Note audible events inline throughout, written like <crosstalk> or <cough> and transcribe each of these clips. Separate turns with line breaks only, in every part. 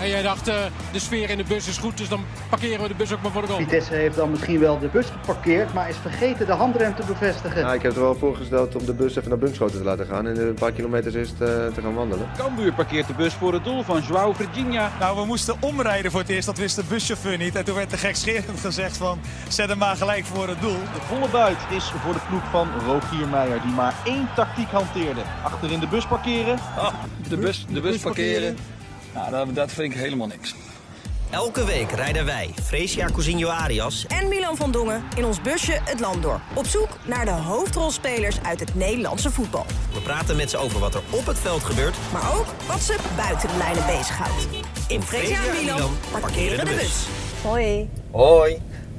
En jij dacht, eh, de sfeer in de bus is goed, dus dan parkeren we de bus ook maar voor de goal.
Vitesse heeft dan misschien wel de bus geparkeerd, maar is vergeten de handrem te bevestigen.
Ja, ik heb er wel voorgesteld om de bus even naar Bunschoten te laten gaan en een paar kilometers eerst eh, te gaan wandelen.
Cambuur parkeert de bus voor het doel van Joao Virginia.
Nou, we moesten omrijden voor het eerst. Dat wist de buschauffeur niet. En toen werd er gekscherend gezegd van... zet hem maar gelijk voor het doel.
De volle buit is voor de ploeg van Rogier Meijer, die maar één tactiek hanteerde. Achterin de bus parkeren.
Ah, De bus, de bus parkeren, nou, dat, dat vind ik helemaal niks.
Elke week rijden wij, Fresia Cousinho Arias,
en Milan van Dongen in ons busje het land door. Op zoek naar de hoofdrolspelers uit het Nederlandse voetbal.
we praten met ze over wat er op het veld gebeurt.
Maar ook wat ze buiten de lijnen bezighoudt.
In
Fresia en Milan parkeren de bus.
Hoi.
Hoi,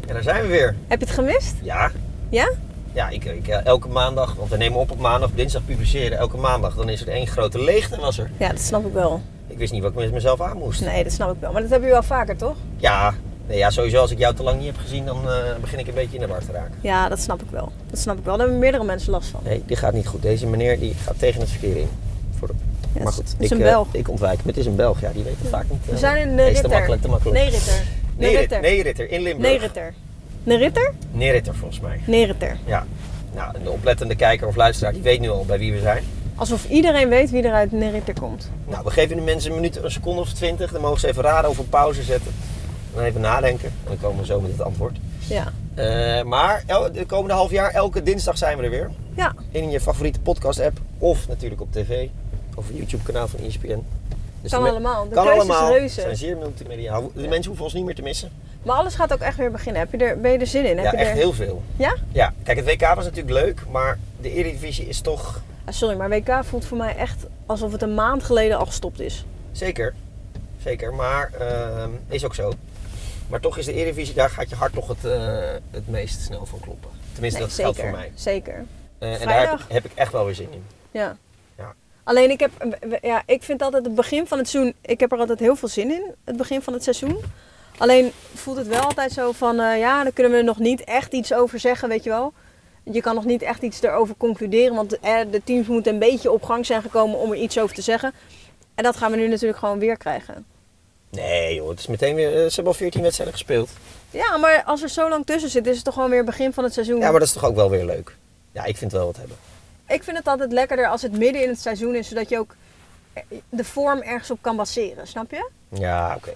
en daar zijn we weer.
Heb je het gemist?
Ja,
Ja?
ja ik, ik, eh, elke maandag, want we nemen op op maandag, dinsdag publiceren, elke maandag, dan is er één grote leegte was er.
Ja, dat snap ik wel.
Ik wist niet wat ik met mezelf aan moest.
Nee, dat snap ik wel. Maar dat hebben we wel vaker, toch?
Ja, nee, ja, sowieso als ik jou te lang niet heb gezien, dan eh, begin ik een beetje in de war te raken.
Ja, dat snap ik wel. Dat snap ik wel. Daar hebben meerdere mensen last van.
Nee, dit gaat niet goed. Deze meneer die gaat tegen het verkeer in. Voor de...
het
maar
is-
goed,
het is
ik,
een
eh,
Belg.
ik ontwijk hem. Het is een Belg, ja, die weet het vaak niet.
We
eh,
zijn in de
hij is
Ritter.
te makkelijk, te makkelijk.
Nee, Ritter. Nee,
Nee,
Ritter.
Ritter. Nee, Ritter, in Limburg.
Nee, Ritter. Nee, Ritter?
Nee, Ritter, volgens mij.
Nee, Ritter.
Ja. Nou, een oplettende kijker of luisteraar, die weet nu al bij wie we zijn.
Alsof iedereen weet wie er uit Nee, Ritter komt.
Nou, we geven de mensen een minuut, een seconde of twintig. Dan mogen ze even raden of we pauze zetten. Dan even nadenken. En dan komen we zo met het antwoord.
Ja.
Eh, maar el- de komende half jaar, elke dinsdag zijn we er weer.
Ja.
In je favoriete podcast app. Of natuurlijk op tv. Of het YouTube kanaal van E ESPN. Dus
Kan
de me-
allemaal. De
kan
keuze is
allemaal.
reuze.
zijn zeer multimedia. De mensen hoeven ons niet meer te missen.
Maar alles gaat ook echt weer beginnen. Heb je er, ben je er zin in? Heb
ja,
je
echt
er...
heel veel.
Ja?
Ja, kijk, het WK was natuurlijk leuk. Maar de Eredivisie is toch...
Ah, sorry, maar WK voelt voor mij echt alsof het een maand geleden al gestopt is.
Dus Zeker, zeker. Maar ehm, is ook zo. Maar toch is de Eredivisie, daar gaat je hart toch het, eh, het meest snel van kloppen. Tenminste, dat
zeker.
geldt voor mij.
Zeker.
Eh, en daar heb
Vrijdag.
ik, heb ik echt wel weer zin in.
Ja.
Ja.
Alleen ik, heb, we- ja, ik vind altijd het begin van het seizoen, ik heb er altijd heel veel zin in, het begin van het seizoen. Alleen voelt het wel altijd zo van, eh, ja, daar kunnen we nog niet echt iets over zeggen, weet je wel. Je kan nog niet echt iets erover concluderen, want eh, de teams moeten een beetje op gang zijn gekomen om er iets over te zeggen. En dat gaan we nu natuurlijk gewoon weer krijgen.
Nee joh, het is meteen weer, eh, ze hebben al 14 wedstrijden gespeeld.
Ja, maar als er zo lang tussen zit, is het toch gewoon weer begin van het seizoen.
Ja, maar dat is toch ook wel weer leuk. Ja, ik vind het wel wat hebben.
Ik vind het altijd lekkerder als het midden in het seizoen is, zodat je ook eh, de vorm ergens op kan baseren, snap je?
Ja, oké.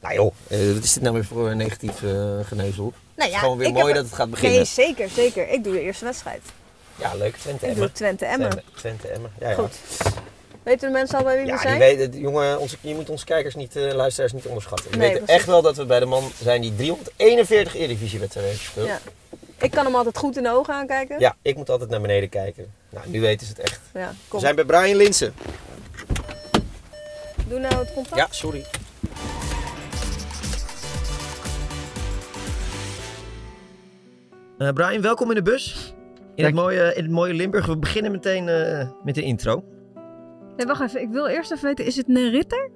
Nou joh, eh, wat is dit nou weer voor een negatief eh, geneuzel?
Nou ja,
Gewoon weer
ik
mooi
heb-
dat het gaat beginnen.
Nee, zeker, zeker. Ik doe de eerste wedstrijd.
Ja, leuk. Twente
Ik doe
Emmen.
Twente Emmen.
Twente- Twente Emmen. Ja, ja.
Goed. Weten de mensen al bij wie we
Ja, die
zijn?
weet, jongen, onze, je moet onze kijkers niet, eh, luisteraars niet onderschatten. We
Nee,
weten
precies.
echt wel dat we bij de man zijn die 341 Eredivisiewedstrijden heeft gespeeld.
Ja. Ik kan hem altijd goed in de ogen aankijken.
Ja, ik moet altijd naar beneden kijken. Nou, nu weten ze het echt.
Ja,
We
kom.
zijn bij Brian Linsen.
Doe nou het contact.
Ja, sorry. Eh, Brian, welkom in de bus. In het, mooie, in het mooie Limburg. We beginnen meteen eh, met de intro.
Nee, wacht even. Ik wil eerst even weten, is het een ritter?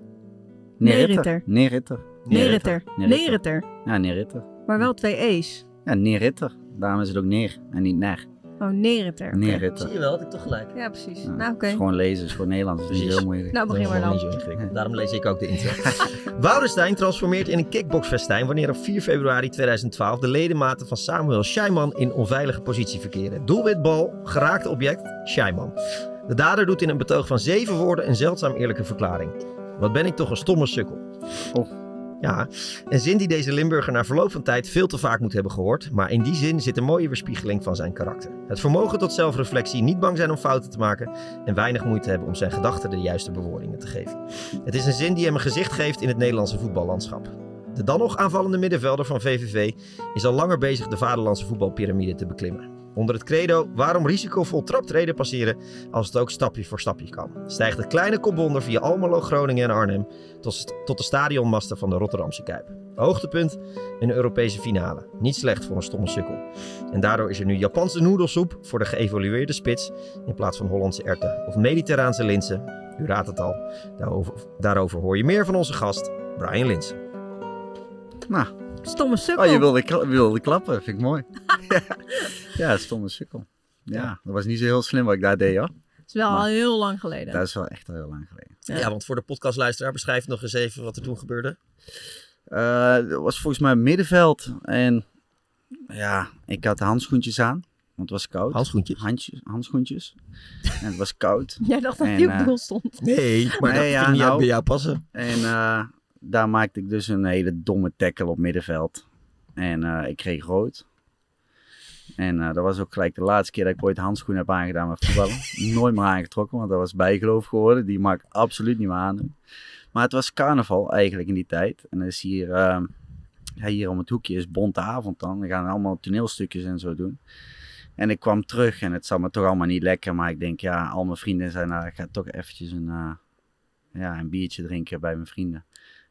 Neeritter.
Neeritter. Neeritter. Neeritter.
Neritter.
Ja, Neeritter.
Maar wel twee E's.
Ja, Neeritter. Daarom is het ook neer en niet ner.
Oh, Neritter.
Neeritter.
je wel, had ik toch gelijk.
Ja, precies.
Ja,
Nou, oké.
Het is eh, gewoon lezen, het is gewoon Nederlands, het is niet
Precies.
heel moeilijk.
Nou, begin maar
Dat is
dan.
wel niet zo ingewikkeld. Daarom lees ik ook de intro. <laughs> Woudenstein transformeert in een kickboxfestijn wanneer op 4 februari 2012 de ledematen van Samuel Scheiman in onveilige positie verkeren. Doelwitbal, geraakte object, Scheiman. De dader doet in een betoog van zeven woorden een zeldzaam eerlijke verklaring. Wat ben ik toch een stomme sukkel.
Oh.
Ja, een zin die deze Limburger na verloop van tijd veel te vaak moet hebben gehoord. Maar in die zin zit een mooie weerspiegeling van zijn karakter. Het vermogen tot zelfreflectie, niet bang zijn om fouten te maken. En weinig moeite hebben om zijn gedachten de juiste bewoordingen te geven. Het is een zin die hem een gezicht geeft in het Nederlandse voetballandschap. De dan nog aanvallende middenvelder van VVV is al langer bezig de vaderlandse voetbalpyramide te beklimmen. Onder het credo waarom risicovol traptreden passeren als het ook stapje voor stapje kan. Stijgt het kleine kopbonder via Almelo, Groningen en Arnhem tot, tot de stadionmasten van de Rotterdamse Kuip. Hoogtepunt, een Europese finale. Niet slecht voor een stomme sukkel. En daardoor is er nu Japanse noedelsoep voor de geëvolueerde spits in plaats van Hollandse erten of Mediterraanse linzen. U raadt het al, Daarover, daarover hoor je meer van onze gast, Brian Linsen.
Nou,
Stomme sukkel.
oh, je wilde, kla- wilde klappen, vind ik mooi. <laughs> ja, stomme sukkel. Ja, dat was niet zo heel slim wat ik daar deed hoor.
Het is wel
Maar-
al heel lang geleden. <laughs>
Dat is wel echt al heel lang geleden.
Ja. want voor de podcastluisteraar beschrijf nog eens even wat er toen gebeurde.
Eh, dat was volgens mij middenveld. En ja, ik had handschoentjes aan, want het was koud.
Handschoentjes?
Handjes- handschoentjes. en het was koud.
Jij dacht dat
En,
die op
eh,
doel stond.
Nee, maar
Nee,
dat
ja,
vind ik niet
nou.
bij jou passen.
En eh, daar maakte ik dus een hele domme tackle op middenveld. En eh, ik kreeg rood. En eh, dat was ook gelijk de laatste keer dat ik ooit handschoenen heb aangedaan met voetballen. Nooit meer aangetrokken, want dat was bijgeloof geworden. Die mag ik absoluut niet meer aandoen. Maar het was carnaval eigenlijk in die tijd. En dan is hier, eh, ja, hier om het hoekje is Bonte Avond dan. Dan gaan allemaal toneelstukjes en zo doen. En ik kwam terug en het zat me toch allemaal niet lekker. Maar ik denk, ja, al mijn vrienden zijn daar. Ik ga toch eventjes een... eh, ja, een biertje drinken bij mijn vrienden.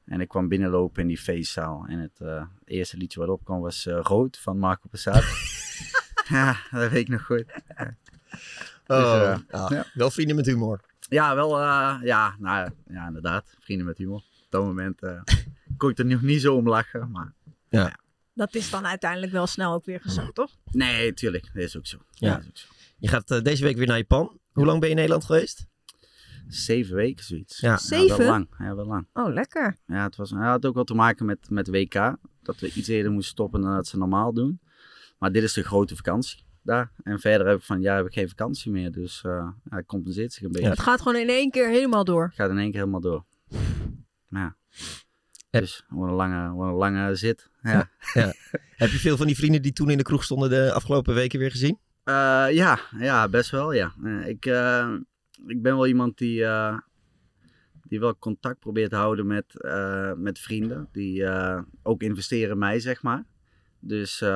En ik kwam binnenlopen in die feestzaal. En het eh, eerste liedje wat opkwam was eh, Rood van Marco Passato. ja, dat weet ik nog goed.
Oh,
Dus,
ja,
ja.
Wel vrienden met humor.
Ja, wel, eh, ja, nou, ja, inderdaad. Vrienden met humor. Op dat moment eh, <laughs> kon ik er nog niet zo om lachen. Maar
Dat is dan uiteindelijk wel snel ook weer gezond, toch?
nee, tuurlijk. Dat is ook zo.
Ja.
Dat is ook zo.
Je gaat eh, deze week weer naar Japan. Hoe lang ben je in Nederland geweest?
Zeven weken zoiets.
Ja.
wel
Zeven?
lang. Ja, wel lang.
Oh, lekker.
Ja, het was, hij had ook wel te maken met, met WK. Dat we iets eerder moesten stoppen dan dat ze normaal doen. Maar dit is de grote vakantie daar. En verder heb ik van, ja, heb ik geen vakantie meer. Dus eh ja, het compenseert zich een beetje.
Ja.
Het gaat gewoon in één keer helemaal door.
Het gaat in één keer helemaal door. Ja.
Heb-
Dus wat een lange, wat een lange zit. Ja,
Heb je veel van die vrienden die toen in de kroeg stonden de afgelopen weken weer gezien?
Eh, ja, ja best wel, ja. Eh, ik, eh, ik ben wel iemand die, eh, die wel contact probeert te houden met, eh, met vrienden. Die eh, ook investeren in mij, zeg maar. Dus eh,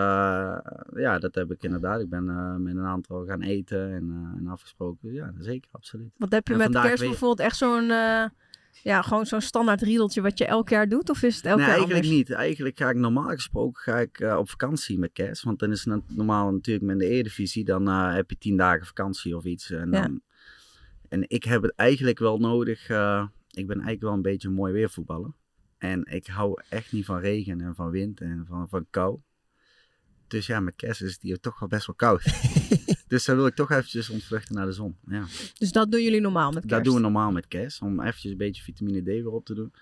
ja, dat heb ik inderdaad. Ik ben eh, met een aantal gaan eten en, eh, en afgesproken. Ja, zeker, absoluut.
Want heb je
En
met
vandaag
kerst
weer.
bijvoorbeeld echt zo'n... eh, ja, gewoon zo'n standaard riedeltje wat je elk jaar doet? Of is het elk
nee,
jaar
eigenlijk
anders?
niet. Eigenlijk ga ik normaal gesproken ga ik, eh, op vakantie met kerst. Want dan is het nat- normaal natuurlijk met de Eredivisie. Dan eh, heb je tien dagen vakantie of iets. eh, En,
Ja.
dan, en ik heb het eigenlijk wel nodig. eh, ik ben eigenlijk wel een beetje een mooi weervoetballer. En ik hou echt niet van regen en van wind en van, van kou. Dus ja, met kerst is het hier toch wel best wel
<laughs>
koud. dus dan wil ik toch eventjes ontvluchten naar de zon. Ja.
Dus dat doen jullie normaal met kerst?
Dat doen we normaal met kerst, om eventjes een beetje vitamine D weer op te doen.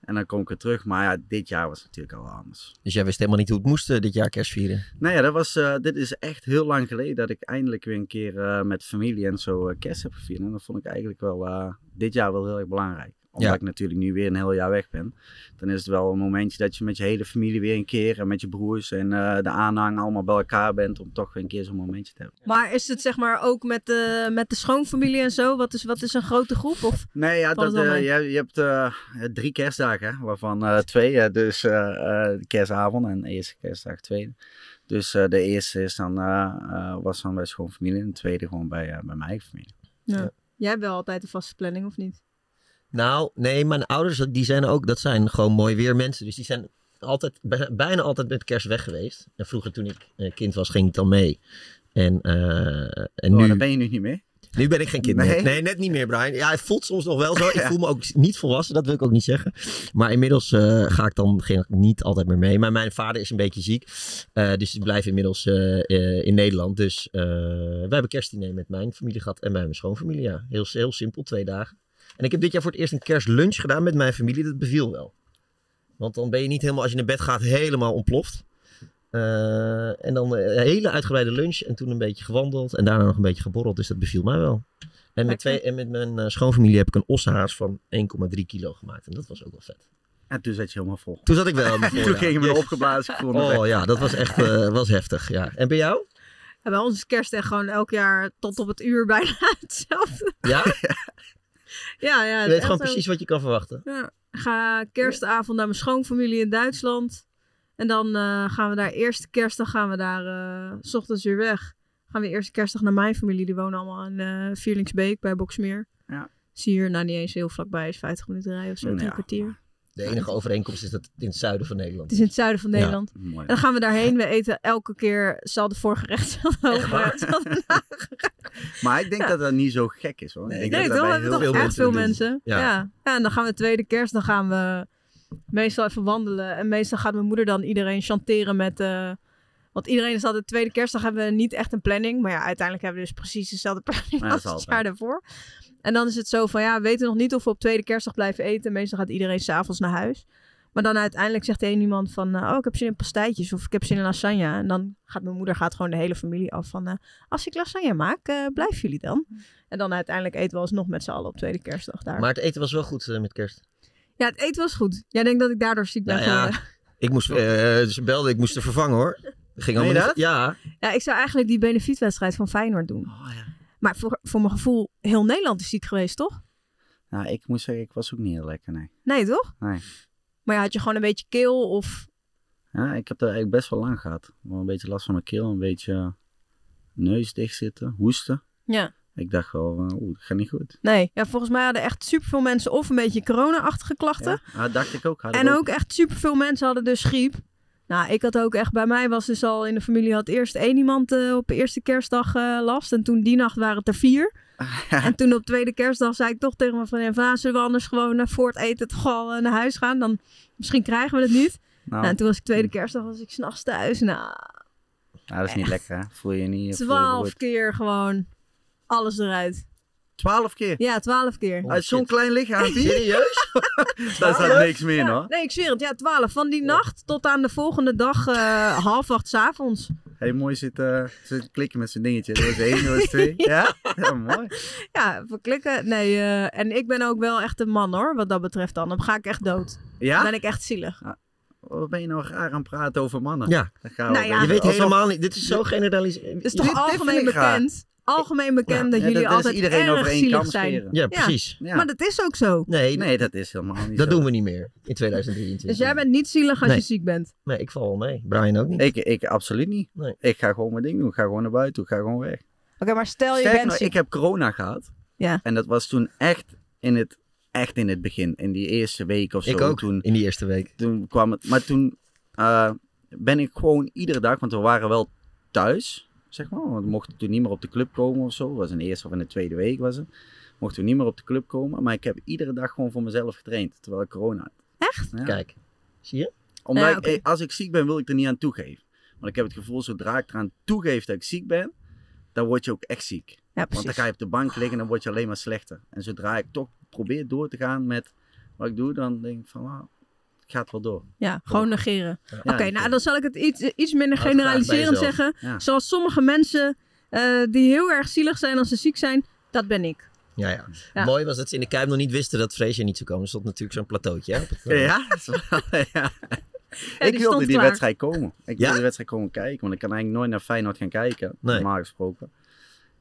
En dan kom ik weer terug. Maar ja, dit jaar was het natuurlijk al anders.
Dus jij wist helemaal niet hoe het moest eh, dit jaar kerstvieren.
Nou ja, dat was, eh, dit is echt heel lang geleden dat ik eindelijk weer een keer eh, met familie en zo eh, kerst heb gevierd. En dat vond ik eigenlijk wel eh, dit jaar wel heel erg belangrijk. Omdat
Ja.
ik natuurlijk nu weer een heel jaar weg ben. Dan is het wel een momentje dat je met je hele familie weer een keer en met je broers en eh, de aanhang allemaal bij elkaar bent. Om toch weer een keer zo'n momentje te hebben.
Maar is het zeg maar ook met de, met de schoonfamilie en zo? Wat is, wat is een grote groep? Of
Nee, ja,
Valt
dat,
het wel
eh,
mee?
je, je hebt eh, drie kerstdagen, hè, waarvan eh, twee. eh, dus eh, eh, kerstavond en eerste kerstdag, tweede. Dus eh, de eerste is dan, eh, eh, was dan bij schoonfamilie en de tweede gewoon bij, eh, bij mijn eigen familie.
jij hebt wel altijd een vaste planning, of niet?
Nou, nee, mijn ouders die zijn ook, dat zijn gewoon mooi weer mensen. Dus die zijn altijd, bij- bijna altijd met kerst weg geweest. En vroeger toen ik eh, kind was, ging ik dan mee. En, eh, en
Oh,
nu,
daar ben je nu niet meer.
nu ben ik geen kind meer.
Nee?
Nee, net niet meer, Brian. Ja, het voelt soms nog
<laughs>
wel zo. Ik voel me ook niet volwassen, dat wil ik ook niet zeggen. Maar inmiddels eh, ga ik dan geen- niet altijd meer mee. Maar mijn vader is een beetje ziek. Eh, dus ik blijf inmiddels eh, eh, in Nederland. Dus eh wij hebben kerstdiner met mijn familie gehad en bij mijn schoonfamilie. Ja, heel, heel simpel, twee dagen. En ik heb dit jaar voor het eerst een kerstlunch gedaan met mijn familie. Dat beviel wel. Want dan ben je niet helemaal, als je naar bed gaat, helemaal ontploft. Eh, en dan eh, een hele uitgebreide lunch en toen een beetje gewandeld en daarna nog een beetje geborreld. Dus dat beviel mij wel. En met,
Lekker.
twee, en met mijn eh, schoonfamilie heb ik een ossehaas van 1,3 kilo gemaakt. En dat was ook wel vet.
En toen zat je helemaal vol.
Toen zat ik wel
<laughs>
helemaal vol,
Toen
ja.
gingen we
Jezus.
opgeblazen. Ik voelde me
Oh ja, dat was echt eh, was heftig. Ja. En bij jou?
Ja, bij ons is kerst echt gewoon elk jaar tot op het uur <laughs> bijna hetzelfde. <laughs>
Ja?
Ja, ja.
Je
het is
weet
echt
gewoon
zo.
precies wat je kan verwachten.
Ja. Ik ga kerstavond naar mijn schoonfamilie in Duitsland. En dan eh, gaan we daar eerste kerstdag gaan we daar eh, s ochtends weer weg. Gaan we eerste kerstdag naar mijn familie. Die wonen allemaal in eh Vierlingsbeek bij Boksmeer.
Ja.
Zie je hier nou niet eens heel vlakbij. Is 50 minuten rijden of zo.
Mm,
Nou
drie
ja.
kwartier.
De enige overeenkomst is dat het in het zuiden van Nederland
Het is in het zuiden van
Ja.
Nederland.
Mooi.
En dan gaan we daarheen. We eten elke keer hetzelfde voorgerecht. <laughs> hetzelfde hoofdgerecht, hetzelfde-
Maar ik denk dat dat niet zo gek is hoor.
Nee,
ik denk
Nee,
dat
toch? We
wij
hebben
heel
toch
veel
echt
mensen
veel
doen.
mensen.
Ja.
Ja. Ja. en dan gaan we tweede kerst, dan gaan we meestal even wandelen. En meestal gaat mijn moeder dan iedereen chanteren met... eh, Want iedereen is altijd tweede kerstdag hebben we niet echt een planning. Maar ja, uiteindelijk hebben we dus precies dezelfde <laughs> planning
Ja, dat
als
is
het
altijd.
jaar daarvoor. En dan is het zo van, ja, we weten nog niet of we op tweede kerstdag blijven eten. Meestal gaat iedereen s'avonds naar huis. Maar dan uiteindelijk zegt de een iemand van, eh, oh, ik heb zin in pastijtjes of ik heb zin in lasagne. En dan gaat mijn moeder gaat gewoon de hele familie af van, eh, als ik lasagne maak, eh, blijven jullie dan? En dan uiteindelijk eten we alsnog met z'n allen op tweede kerstdag daar.
Maar het eten was wel goed eh, met kerst.
Ja, het eten was goed. Jij denkt dat ik daardoor ziek ben
Nou ja.
geworden.
Ik moest, eh, ze belden, ik moest er vervangen hoor. Ging allemaal
Meen je
niet- Ja.
Ja, ik zou eigenlijk die benefietwedstrijd van Feyenoord doen.
Oh, ja.
Maar voor, voor mijn gevoel, heel Nederland is ziek geweest, toch?
Nou, ik moet zeggen, ik was ook niet heel lekker, nee.
Nee, toch?
Nee.
Maar ja, had je gewoon een beetje keel of...
Ja, ik heb dat eigenlijk best wel lang gehad. Wel een beetje last van mijn keel, een beetje eh, neus dicht zitten, hoesten.
Ja.
Ik dacht wel, eh, oeh, dat gaat niet goed.
Nee, ja, volgens mij hadden echt superveel mensen of een beetje corona-achtige klachten.
Ja, ah, dacht ik ook. had ik
En ook echt superveel mensen hadden dus griep. Nou, ik had ook echt, bij mij was dus al in de familie had eerst één iemand eh, op de eerste kerstdag eh, last. En toen die nacht waren het er
<laughs>
vier. en toen op tweede kerstdag zei ik toch tegen mijn vriendin van, "Ah, zullen we anders gewoon naar voort eten, toch al eh, naar huis gaan? Dan misschien krijgen we het niet.
Nou,
Nou, en toen was ik tweede kerstdag, was ik s'nachts thuis. Nou,
ja, Nou, dat is niet lekker, hè? Voel je niet. eh, voel je
twaalf
goed.
keer gewoon alles eruit.
Twaalf keer?
Ja, twaalf keer.
Uit zo'n klein <laughs> lichaampje?
Serieus?
Daar staat niks meer in,
Ja,
hoor.
nee, ik zweer het. Ja, twaalf. Van die nacht tot aan de volgende dag eh, <laughs> half acht s'avonds.
hey, mooi zit, eh, zit klikken met zijn dingetje. Dat was één, dat was <laughs> twee. Ja, ja mooi.
Ja, even klikken. Nee, eh, en ik ben ook wel echt een man hoor, wat dat betreft dan. Dan ga ik echt dood. Dan
Ja?
ben ik echt zielig.
Wat ben je nou raar aan het praten over mannen?
Ja.
Dat gaan
Nou ja.
Je weet
alsof-
helemaal niet. Dit is zo generaliserend.
Het is
Dit-
toch
dit
algemeen
vind ik raar.
bekend? Algemeen bekend
Ja,
dat jullie
is
altijd
iedereen
erg
nou over één
zielig
kam
zijn.
scheren.
Ja, precies.
Ja.
Maar dat is ook zo.
Nee,
Nee, dat is helemaal niet
dat
zo.
doen we niet meer in 2023.
Dus jij bent niet zielig als
Nee.
je ziek bent.
Nee, ik val wel mee. Brian ook niet.
Ik, ik absoluut niet.
Nee.
Ik ga gewoon mijn ding doen. Ik ga gewoon naar buiten. Ik ga gewoon weg.
Oké, maar stel Oh, je
Sterker
bent
nog,
ziek.
ik heb corona gehad.
Ja.
En dat was toen echt in het, echt in het begin. In die eerste week of zo.
Ik ook,
Toen,
in die eerste week.
toen kwam het. Maar toen eh, ben ik gewoon iedere dag, want we waren wel thuis, zeg maar. Want we mochten toen niet meer op de club komen of zo. Dat was in de eerste of in de tweede week was het. Mochten we niet meer op de club komen. Maar ik heb iedere dag gewoon voor mezelf getraind, terwijl ik corona had.
Echt?
Ja.
Kijk, zie je?
Omdat
Ja,
ik-
oké.
als ik ziek ben, wil ik er niet aan toegeven. Want ik heb het gevoel, zodra ik eraan toegeef dat ik ziek ben, dan word je ook echt ziek.
Ja,
Want dan
precies.
ga je op de bank liggen en dan word je alleen maar slechter. En zodra ik toch probeer door te gaan met wat ik doe, dan denk ik van, ah, het gaat wel door.
Ja, gewoon negeren.
Oh. Ja, Nou,
Oké,
ik-
nou dan zal ik het iets, iets minder
Houd het graag bij
generaliserend
jezelf.
zeggen.
Ja.
Zoals sommige mensen eh, die heel erg zielig zijn als ze ziek zijn, dat ben ik.
Ja, ja.
Ja.
Mooi was dat ze in de Kuip nog niet wisten dat Freesia niet zou komen. Er stond natuurlijk zo'n plateautje. hè, op het, eh,
Ja, <laughs> dat is wel- ja.
Ja,
ik
Eh, die
wilde
stond
die
klaar.
wedstrijd komen. Ik
Ja?
wilde die wedstrijd komen kijken, want ik kan eigenlijk nooit naar Feyenoord gaan kijken,
Nee.
normaal gesproken.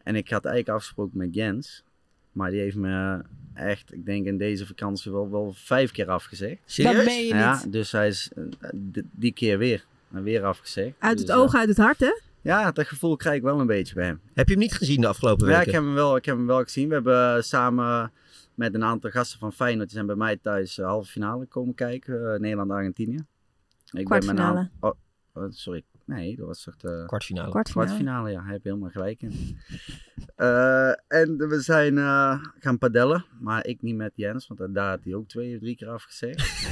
En ik had eigenlijk afgesproken met Jens, maar die heeft me echt, ik denk in deze vakantie wel, wel vijf keer afgezegd.
Dat
Serieus?
ben je
Ja,
niet.
dus hij is eh, d- die keer weer, en weer afgezegd.
Uit
Dus,
het
eh,
oog, uit het hart, hè?
ja, dat gevoel krijg ik wel een beetje bij hem.
Heb je hem niet gezien de afgelopen
Ja,
weken?
ik heb, hem wel, ik heb hem wel gezien. We hebben eh, samen met een aantal gasten van Feyenoord... die zijn bij mij thuis de halve finale komen kijken. eh, Nederland-Argentinië. Ik ben met een
Kwartfinale.
aantal- oh, eh, sorry. Nee, dat was toch de...
Kwartfinale.
Kwartfinale.
Kwartfinale, ja. Hij heeft helemaal gelijk in. <laughs> Eh, en we zijn eh, gaan padellen. Maar ik niet met Jens, want daar had hij ook twee of drie keer afgezegd.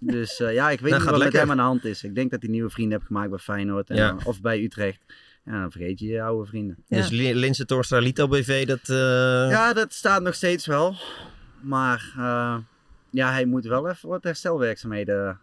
dus eh, ja, ik weet
Nou, gaat
niet wat
lekker.
met hem aan de hand is. Ik denk dat hij nieuwe vrienden heeft gemaakt bij Feyenoord en,
Ja.
eh, of bij Utrecht. En dan vergeet je je oude vrienden.
Dus Li- Linse Torstra Lito BV, dat... eh,
Ja, dat staat nog steeds wel. Maar eh, ja, hij moet wel even wat herstelwerkzaamheden.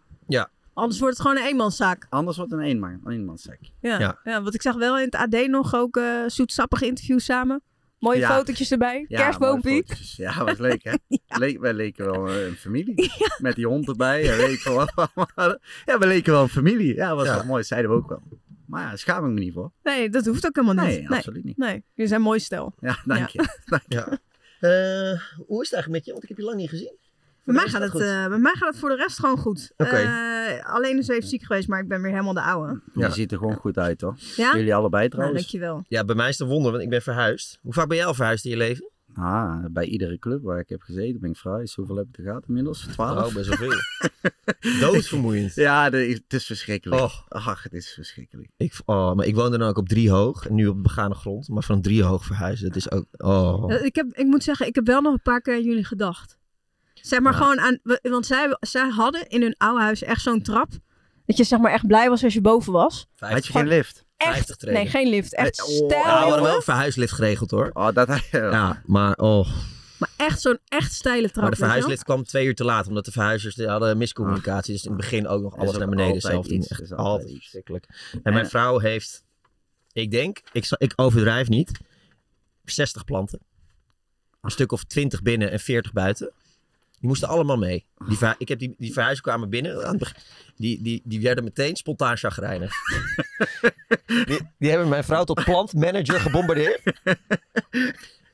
Anders wordt het gewoon een eenmanszaak.
Anders wordt een eenman, een eenmanszak.
Ja.
Ja.
Ja. want ik zag wel in het AD nog ook eh zoetsappige interviews samen. Mooie
Ja.
fotootjes erbij.
Ja, mooie
Kerstboompie.
fotootjes. Ja, was leuk
<laughs>
hè? Leek, wij leken wel eh, een familie. Met die hond erbij. En weet ik veel wat <laughs> we allemaal hadden. ja, we leken wel een familie. Ja, was
Ja.
wel mooi. Zeiden we ook wel. Maar ja, daar schaam ik me niet voor.
Nee, dat hoeft ook helemaal niet.
Nee,
Nee, nee.
absoluut niet.
jullie zijn mooi stel.
Ja, dank je.
ja. Eh, hoe is het eigenlijk met je? Want ik heb je lang niet gezien.
<laughs> Bij mij,
Is
gaat
dat
het,
goed?
eh, bij mij gaat het voor de rest gewoon goed.
Oké.
Eh, alleen is even ziek geweest, maar ik ben weer helemaal de oude.
Ja.
Je ziet er gewoon goed uit hoor.
Ja?
Jullie allebei
Nou,
trouwens.
dankjewel.
Ja, bij mij is het een wonder, want ik ben verhuisd. Hoe vaak ben jij al verhuisd in je leven?
ah, bij iedere club waar ik heb gezeten ben ik vrij. Dus Hoeveel heb ik er gehad inmiddels? Twaalf?
Oh, best wel veel.
<laughs>
Doodvermoeiend.
Ja, de- het is verschrikkelijk.
Och.
Ach, het is verschrikkelijk.
Ik, oh, maar ik woonde dan ook op drie hoog. En nu op begane grond. Maar van drie hoog verhuizen, dat is ook... Oh.
Eh, Ik, heb, ik moet zeggen, ik heb wel nog een paar keer aan jullie gedacht. Zeg maar
Ja.
gewoon aan... wa- Want zij, zij hadden in hun oude huis echt zo'n trap. Dat je zeg maar echt blij was als je boven was.
Had je
50,
geen lift?
Echt,
50
nee, geen lift. Echt
Nee, oh.
stijl,
Ja, we hadden wel
jongen.
een verhuislift geregeld hoor.
Oh, dat had je wel.
Ja, maar oh.
Maar echt zo'n echt steile trap.
Maar de
weet je wel.
verhuislift kwam twee uur te laat, omdat de verhuizers die hadden miscommunicatie. Dus in het begin ook nog
Ah. Er is
alles
ook
naar beneden
altijd
zelf doen.
iets, er
Echt
is
altijd,
altijd iets.
verschrikkelijk. En mijn
En-
vrouw heeft, ik denk, ik, zal- ik overdrijf niet, 60 planten. Een stuk of 20 binnen en 40 buiten. Die moesten allemaal mee. Die verhu- ik heb die, die verhuizers kwamen binnen. aan het begin- Die, die, die werden meteen spontaan
<laughs>
chagrijnig. die, die hebben mijn vrouw tot plantmanager gebombardeerd.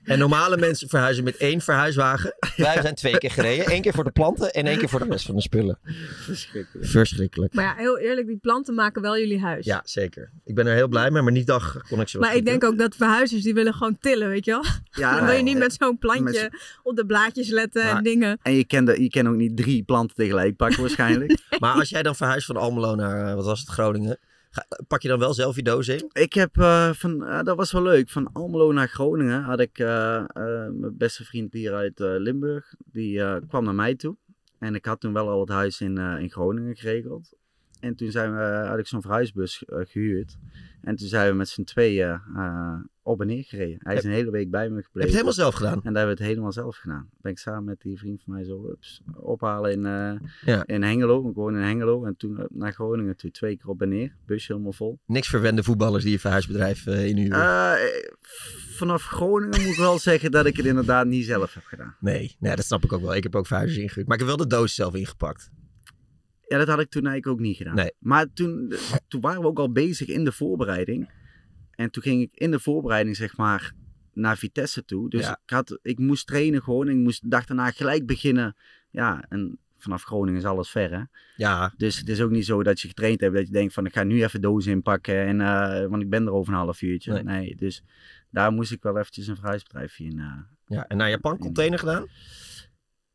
En normale mensen verhuizen met één verhuiswagen. Wij zijn twee keer gereden. Eén keer voor de planten en één keer voor de rest van de spullen.
Verschrikkelijk.
Verschrikkelijk.
Maar ja, heel eerlijk, die planten maken wel jullie huis.
Ja, zeker. Ik ben er heel blij mee, maar niet dag kon ik zo
Maar ik denk ook dat verhuizers die willen gewoon tillen, weet je wel.
Ja,
<laughs> Dan wil je
nee.
niet met zo'n
Met
plantje op de blaadjes letten
Maar-
en dingen.
En je kent, je kent ook niet drie planten tegelijk pakken waarschijnlijk.
Maar als jij dan verhuist van Almelo naar, eh, wat was het, Groningen. ga- pak je dan wel zelf je doos in?
ik heb eh, van, eh, dat was wel leuk, van Almelo naar Groningen had ik eh, eh, mijn beste vriend hier uit eh, Limburg. Die eh, kwam naar mij toe. En ik had toen wel al het huis in, eh, in Groningen geregeld. En toen zijn we, had ik zo'n verhuisbus eh, gehuurd. En toen zijn we met z'n tweeën eh, op en neer gereden. Hij is een hele week bij me
Heb je het
gebleven.
helemaal zelf gedaan?
En daar hebben we het helemaal zelf gedaan. Ben ik samen met die vriend van mij zo ups, ophalen in, eh,
Ja.
in Hengelo. Ik woon in Hengelo. En toen eh, naar Groningen toe twee keer op en neer. Busje helemaal vol.
Niks verwende voetballers die je verhuisbedrijf eh inhuren.
Eh, vanaf Groningen moet ik wel <laughs> zeggen dat ik het inderdaad niet zelf heb gedaan.
nee, nee, dat snap ik ook wel. Ik heb ook verhuizers ingehuurd. Maar ik heb wel de doos zelf ingepakt.
Ja, dat had ik toen eigenlijk ook niet gedaan.
Nee.
Maar toen, toen waren we ook al bezig in de voorbereiding. En toen ging ik in de voorbereiding, zeg maar, naar Vitesse toe. Dus
Ja.
ik, had, ik moest trainen gewoon. Ik moest de dag daarna gelijk beginnen. Ja, en vanaf Groningen is alles ver, hè?
Ja,
Dus het is ook niet zo dat je getraind hebt dat je denkt van ik ga nu even dozen inpakken, en, eh, want ik ben er over een half uurtje.
Nee.
Nee. dus daar moest ik wel eventjes een verhuisbedrijfje in. eh.
ja. En naar Japan container gedaan?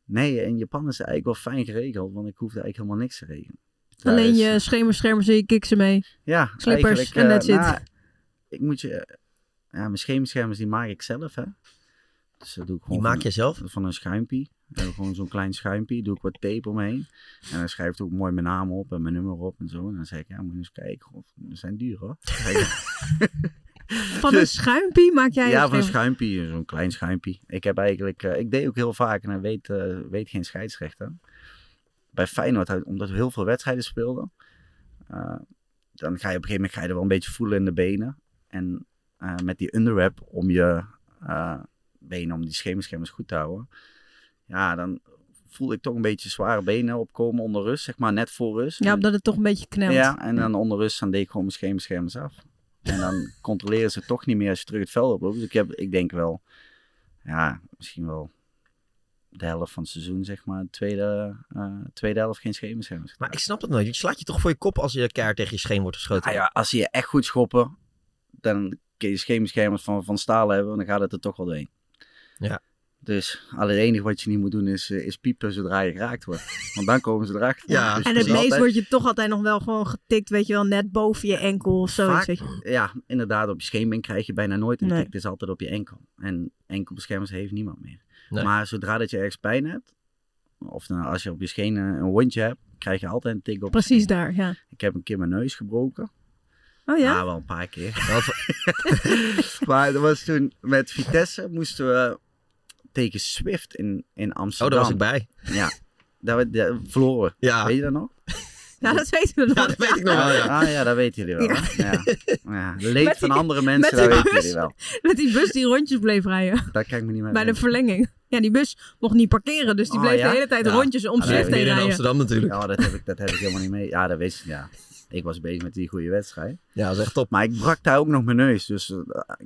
Nee, in Japan is het eigenlijk wel fijn geregeld, want ik hoefde eigenlijk helemaal niks te regelen. Daar
Alleen
is-
je schemerschermen zie je kiksen mee.
ja,
slippers
eigenlijk,
en
eh,
that's it.
nou, ik moet je, ja, mijn schemerschermers die maak ik zelf hè. Dus dat doe ik
Die
gewoon
maak
van-
je zelf?
van een schuimpie. Eh, gewoon zo'n klein schuimpie. Doe ik wat tape omheen. En dan schrijf ik ook mooi mijn naam op en mijn nummer op en zo. En dan zeg ik, ja, moet je eens kijken. Of, ze zijn duur hoor. Dan zeg ik,
Van een schuimpie maak jij
Dus- ja,
een
van een
schemer-
schuimpie. Zo'n klein schuimpie. Ik heb eigenlijk, eh, ik deed ook heel vaak en dan weet, eh, weet geen scheidsrechter. Bij Feyenoord, had- omdat we heel veel wedstrijden speelden. eh, dan ga je op een gegeven moment ga je er wel een beetje voelen in de benen. En eh, met die underwrap om je eh, benen, om die schemerschermers goed te houden. Ja, dan voelde ik toch een beetje zware benen opkomen onder rust, zeg maar net voor rust.
Ja, omdat het toch een beetje knelt.
Ja, en dan onder rust dan deed ik gewoon mijn schemerschermers af. En dan controleren ze toch niet meer als je terug het veld oploopt. Dus ik, heb, ik denk wel, ja, misschien wel de helft van het seizoen, zeg maar. Tweede, eh, tweede helft geen schemerschermers.
Maar ik snap het nooit. Je slaat je toch voor je kop als je keihard tegen je scheen wordt geschoten?
Ah ja, als ze je echt goed schoppen, dan kun je schemerschermers van, van staal hebben. En dan gaat het er toch wel doorheen.
Ja.
Dus al het enige wat je niet moet doen is, eh, is piepen zodra je geraakt wordt. Want dan komen ze erachter.
Ja.
Dus
En
het
het
is
meest
altijd-
word je toch altijd nog wel gewoon getikt, weet je wel, net boven je enkel of zoiets.
Vaak-
weet je.
ja, inderdaad, op je scheenbeen krijg je bijna nooit een
Nee.
tik. Het is altijd op je enkel. En enkelbeschermers heeft niemand meer.
Nee.
Maar zodra dat je ergens pijn hebt, of dan als je op je scheen eh, een wondje hebt, krijg je altijd een tik op.
Precies daar, ja.
Ik heb een keer mijn neus gebroken.
Oh ja?
Ah, wel een paar keer. maar dat was toen met Vitesse moesten we tegen Swift in, in
Oh,
Amsterdam.
daar was ik bij.
Ja, daar, werd- daar verloren.
Ja,
Weet je dat nog?
ja, Nou, dat weten we nog.
ja dat weet ik nog wel. ja.
Ah ja, dat weten jullie wel. hè? Ja. Ja.
<laughs> Met
Leed van
die-
andere mensen,
met die
dat weten
bus.
jullie wel.
Met die bus die rondjes bleef rijden
<laughs> Daar kan ik me niet meer
bij de
herinneren.
verlenging. Ja, die bus mocht niet parkeren, dus die
Oh,
bleef
ja?
de hele tijd
Ja.
rondjes om
Ah, nee,
Zwift heen
midden in
rijden.
Amsterdam natuurlijk.
Ja, dat heb, ik, dat heb ik helemaal niet mee. Ja, dat wist ik. Ja. Ik was bezig met die goede wedstrijd.
Ja, dat is echt top.
Maar ik brak daar ook nog mijn neus. Dus eh,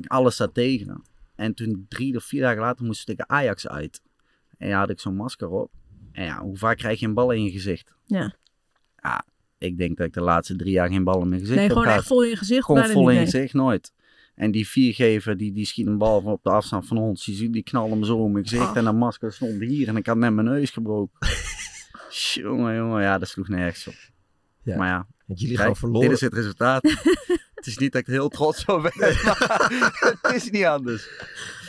alles staat tegen. En toen drie of vier dagen later moest ik tegen Ajax uit. En ja, had ik zo'n masker op. En ja, hoe vaak krijg je een bal in je gezicht?
Ja.
Ja, ik denk dat ik de laatste drie jaar geen bal in mijn gezicht
Nee,
heb
gewoon
gehad.
echt vol in je gezicht.
Gewoon
bijna
vol in
niet
je
mee.
gezicht, nooit. En die viergever, die, die schiet een bal van op de afstand van ons. Die, die knalde hem zo om mijn gezicht.
Ah.
En dat masker stond hier. En ik had net mijn neus gebroken. <laughs> jongen, jongen. Ja, dat sloeg nergens op.
Ja.
Maar ja,
Want jullie
Kijk,
gaan verloren.
Dit is het resultaat. het is niet dat ik er heel trots op ben, maar <laughs> het is niet anders.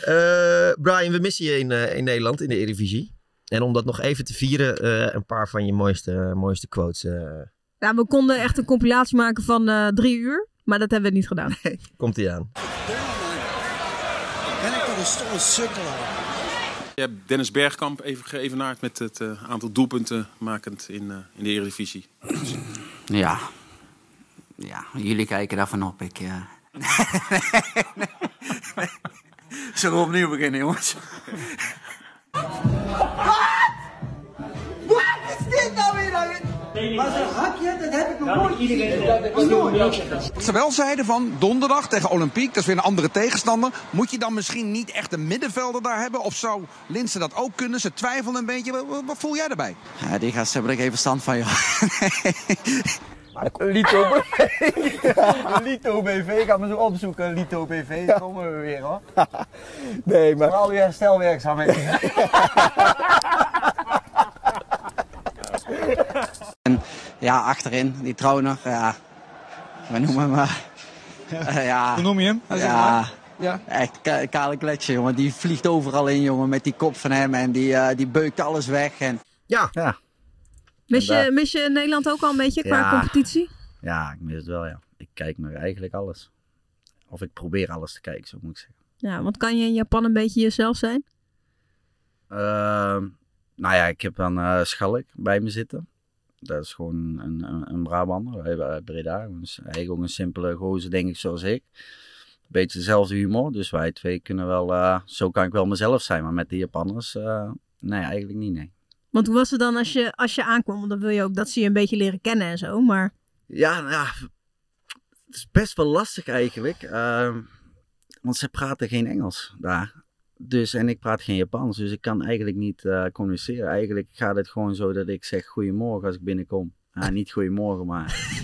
Eh, Brian, we missen je in, eh, in Nederland, in de Eredivisie. En om dat nog even te vieren, eh, een paar van je mooiste, mooiste quotes eh,
Ja, we konden echt een compilatie maken van eh, drie uur. Maar dat hebben we niet
<laughs>
gedaan.
Komt hij aan.
Ben ik toch een stomme sukkel aan.
Je hebt Dennis Bergkamp even geëvenaard met het eh, aantal doelpunten makend in, eh, in de Eredivisie.
Ja. Ja, jullie kijken daarvan op. Ik, eh. <laughs> Zullen we opnieuw beginnen, jongens?
Wat is dit nou weer? Maar zo'n hakje, dat heb ik nog nooit gezien.
Terwijl zeiden van donderdag tegen Olympiek, dat is weer een andere tegenstander. Moet je dan misschien niet echt een middenvelder daar hebben? Of zou Linsen dat ook kunnen? Ze twijfelen een beetje. Wat, wat- wat voel jij daarbij?
Ja, die gasten hebben er geen verstand van,
<laughs>
joh.
Lito
<laughs>
BV. Lito BV. Gaan we zo opzoeken. Lito BV. Dan komen we weer
<laughs>
hoor. Nee, maar. Vooral je herstelwerkzaamheden.
En ja, achterin, die trouwner, ja. We noemen hem... eh, eh, ja.
Hoe noem je hem? Hij zegt
Ja.
maar.
Ja. Echt ka- kale kletje, jongen. Die vliegt overal in, jongen, met die kop van hem. En die, eh, die beukt alles weg. En...
Ja.
ja.
Mis je,
Vandaar.
mis je Nederland ook al een beetje qua
Ja.
competitie?
Ja, ik mis het wel, ja. Ik kijk naar eigenlijk alles. Of ik probeer alles te kijken, zo moet ik zeggen.
Ja, want kan je in Japan een beetje jezelf zijn?
Ehm, nou ja, ik heb dan eh Schalk bij me zitten. Dat is gewoon een, een, een Brabander hij- uit Breda. Dus eigenlijk ook een simpele gozer, denk ik, zoals ik. Beetje dezelfde humor. Dus wij twee kunnen wel... eh, zo kan ik wel mezelf zijn. Maar met de Japanners... eh, nee, eigenlijk niet, nee.
Want hoe was het dan als je, als je aankwam? Want dan wil je ook dat ze je een beetje leren kennen en zo. Maar
Ja, nou ja, het is best wel lastig eigenlijk. ehm, want ze praten geen Engels daar. Dus, en ik praat geen Japans, dus ik kan eigenlijk niet eh, communiceren. Eigenlijk gaat het gewoon zo dat ik zeg goedemorgen als ik binnenkom. Ah, niet goedemorgen, maar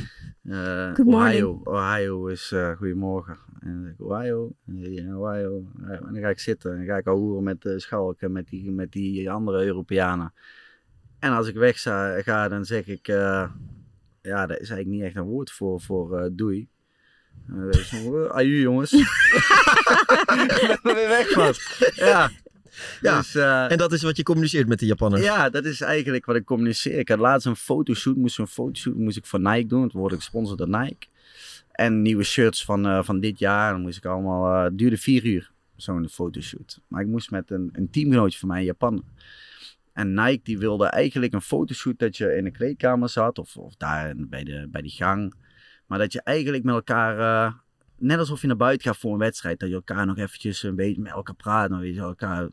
eh
Good morning.
Ohio. Ohio is eh, goedemorgen. En dan zeg ik Ohio, en ja, Ohio. Ohio. En dan ga ik zitten en dan ga ik al hoeren met eh, Schalk en met die, met die andere Europeanen. En als ik weg za- ga, dan zeg ik... eh, ja, daar is eigenlijk niet echt een woord voor, voor eh, doei. Eh, dat is gewoon, eh, aju jongens. ik ben er weer weg was. Ja.
Ja,
Dus, eh,
en dat is wat je communiceert met de Japanners.
ja, dat is eigenlijk wat ik communiceer. Ik had laatst een fotoshoot, moest een fotoshoot moest ik voor Nike doen. Het word ik gesponsord door Nike. En nieuwe shirts van, eh, van dit jaar. Dan moest ik allemaal, eh, het duurde vier uur, zo'n fotoshoot. Maar ik moest met een, een teamgenootje van mij in Japan. En Nike die wilde eigenlijk een fotoshoot dat je in de kleedkamer zat. Of, of daar in- bij, de, bij die gang. Maar dat je eigenlijk met elkaar... eh, net alsof je naar buiten gaat voor een wedstrijd. Dat je elkaar nog eventjes een beetje met elkaar praat. En weet je, elkaar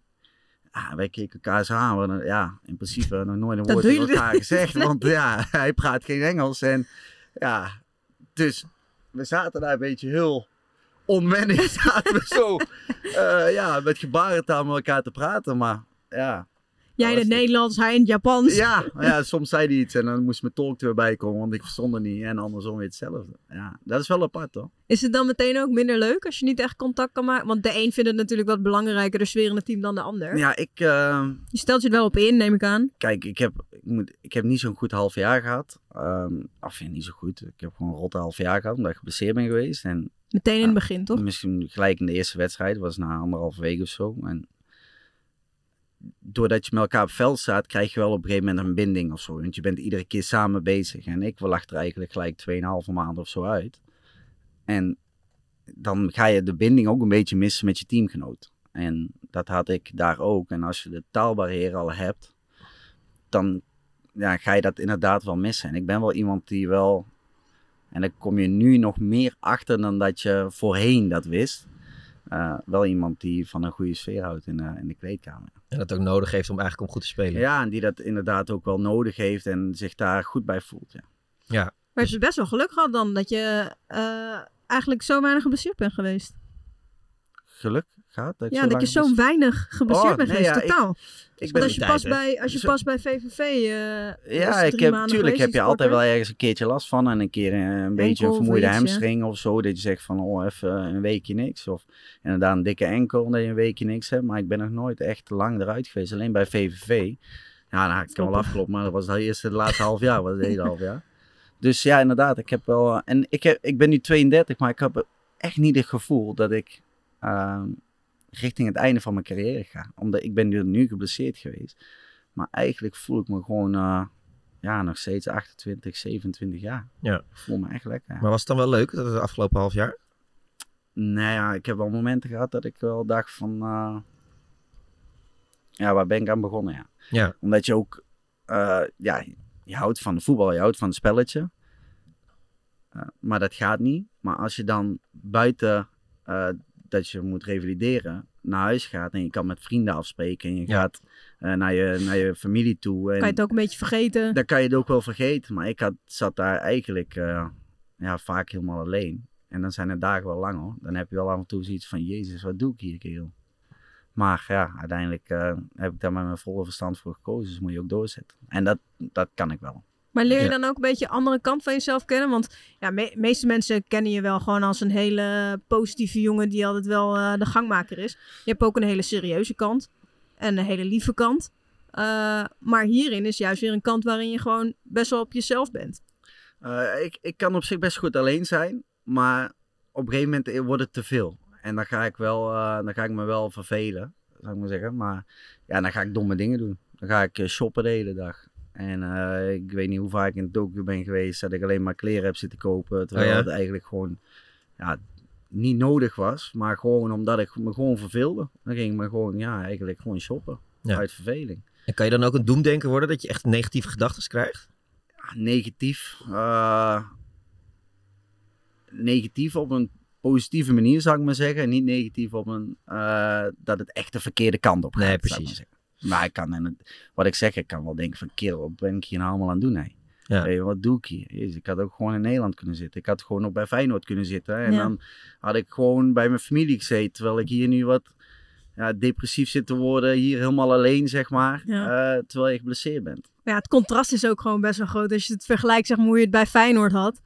ja, wij keken elkaar eens aan. want, eh, ja, in principe nog nooit een
Dat
woord
doen
tegen
<laughs>
jullie
elkaar
niet.
<laughs> gezegd.
Nee.
Want ja, hij praat geen Engels. En ja, dus we zaten daar een beetje heel onwennig. <laughs> Zaten we zo eh, ja, met gebarentaal met elkaar te praten. Maar ja,
jij in het Nederlands, hij in het Japans.
ja, maar ja, soms zei hij iets en dan moest mijn tolk erbij komen. Want ik verstond het niet. En andersom weer hetzelfde. Ja, dat is wel apart hoor.
Is het dan meteen ook minder leuk als je niet echt contact kan maken? Want de een vindt het natuurlijk wat belangrijker, de sfeer in het team, dan de ander.
Ja, ik... eh,
Je stelt je er wel op in, neem ik aan.
kijk, ik heb, ik, moet, ik heb niet zo'n goed half jaar gehad. Ehm of ja, niet zo goed. Ik heb gewoon een rotte half jaar gehad, omdat ik geblesseerd ben geweest. En
Meteen in het begin, toch?
misschien gelijk in de eerste wedstrijd, was na anderhalf week of zo. En doordat je met elkaar op veld staat, krijg je wel op een gegeven moment een binding of zo. Want je bent iedere keer samen bezig. En ik lag er eigenlijk gelijk 2,5 maand of zo uit. En dan ga je de binding ook een beetje missen met je teamgenoot. En dat had ik daar ook. En als je de taalbarrière al hebt, dan ja, ga je dat inderdaad wel missen. En ik ben wel iemand die wel. En dan kom je nu nog meer achter dan dat je voorheen dat wist. Eh, wel iemand die van een goede sfeer houdt in, eh, in de kleedkamer.
En dat ook nodig heeft om eigenlijk om goed te spelen.
Ja, en die dat inderdaad ook wel nodig heeft en zich daar goed bij voelt. Ja.
ja.
Maar je hebt best wel geluk gehad dan dat je eh, eigenlijk zo weinig geblesseerd bent geweest.
Geluk gaat. Dat ik
ja,
zo
dat
lang
je zo
mis-
weinig geblesseerd
Oh,
bent
nee,
geweest,
ja, ik-
totaal. Dus
ik ben
Want als je,
die
pas
tijd, hè.
bij, als je
Zo-
pas bij VVV... eh, was
Ja,
drie
ik heb,
maanden
tuurlijk heb
geweest,
je
iets
altijd
korter.
wel ergens een keertje last van. En een keer eh, een, een beetje een
of
vermoeide
iets, ja.
hamstring of zo. Dat je zegt van, oh, even een weekje niks. Of inderdaad een dikke enkel dat je een weekje niks hebt. Maar ik ben nog nooit echt lang eruit geweest. Alleen bij VVV. Ja, nou, ik kan wel
Kloppen.
afkloppen. Maar dat was het eerste, dus het laatste half jaar. was het hele half jaar. Dus ja, inderdaad. Ik heb wel... En ik, heb, ik ben nu 32, maar ik heb echt niet het gevoel dat ik... ehm, richting het einde van mijn carrière ga. Omdat ik ben nu, nu geblesseerd geweest. Maar eigenlijk voel ik me gewoon eh, ja, nog steeds 28, 27 jaar.
Ja.
Ik voel me echt lekker.
Maar was het dan wel leuk dat het afgelopen half jaar?
Nou ja, ik heb wel momenten gehad dat ik wel dacht van... eh, ja, waar ben ik aan begonnen, ja.
Ja.
Omdat je ook... eh, ja, je houdt van de voetbal, je houdt van het spelletje. Eh, maar dat gaat niet. Maar als je dan buiten eh, dat je moet revalideren naar huis gaat... en je kan met vrienden afspreken en je gaat eh, naar, je, naar je familie toe... En
Kan je het ook een beetje vergeten?
dan kan je het ook wel vergeten. Maar ik had, zat daar eigenlijk eh, ja, vaak helemaal alleen. En dan zijn de dagen wel lang hoor. Dan heb je wel af en toe zoiets van, jezus, wat doe ik hier, kerel? Maar ja, uiteindelijk eh, heb ik daar met mijn volle verstand voor gekozen. Dus moet je ook doorzetten. En dat, dat kan ik wel.
Maar leer je
Ja.
dan ook een beetje de andere kant van jezelf kennen? Want ja, me- meeste mensen kennen je wel gewoon als een hele positieve jongen die altijd wel eh, de gangmaker is. Je hebt ook een hele serieuze kant en een hele lieve kant. Eh, maar hierin is juist weer een kant waarin je gewoon best wel op jezelf bent.
Eh, ik, ik kan op zich best goed alleen zijn, maar op een gegeven moment wordt het te veel. En dan ga ik, wel, eh, dan ga ik me wel vervelen, zou ik maar zeggen. Maar ja, dan ga ik domme dingen doen. Dan ga ik eh, shoppen de hele dag. En eh, ik weet niet hoe vaak ik in Tokio ben geweest dat ik alleen maar kleren heb zitten kopen. Terwijl eh,
Oh ja?
het eigenlijk gewoon ja, niet nodig was. Maar gewoon omdat ik me gewoon verveelde. Dan ging ik me gewoon, ja, eigenlijk gewoon shoppen.
Ja.
Uit verveling.
En kan je dan ook een doemdenker worden dat je echt negatieve gedachten krijgt?
negatief. eh, negatief op een positieve manier, zou ik maar zeggen. En niet negatief op een. eh, dat het echt de verkeerde kant op gaat.
Nee,
zou ik maar
precies.
zeggen. Maar ik kan, en het- wat ik zeg, ik kan wel denken: van kerel, wat ben ik hier nou allemaal aan het doen? Hè?
Ja.
Hey, wat doe ik hier? Jezus, ik had ook gewoon in Nederland kunnen zitten. Ik had gewoon ook bij Feyenoord kunnen zitten. En
Ja.
dan had ik gewoon bij mijn familie gezeten. Terwijl ik hier nu wat ja, depressief zit te worden. Hier helemaal alleen, zeg maar.
Ja.
eh, terwijl je geblesseerd bent.
Maar ja, het contrast is ook gewoon best wel groot. Als je het vergelijkt, zeg maar, hoe je het bij Feyenoord had.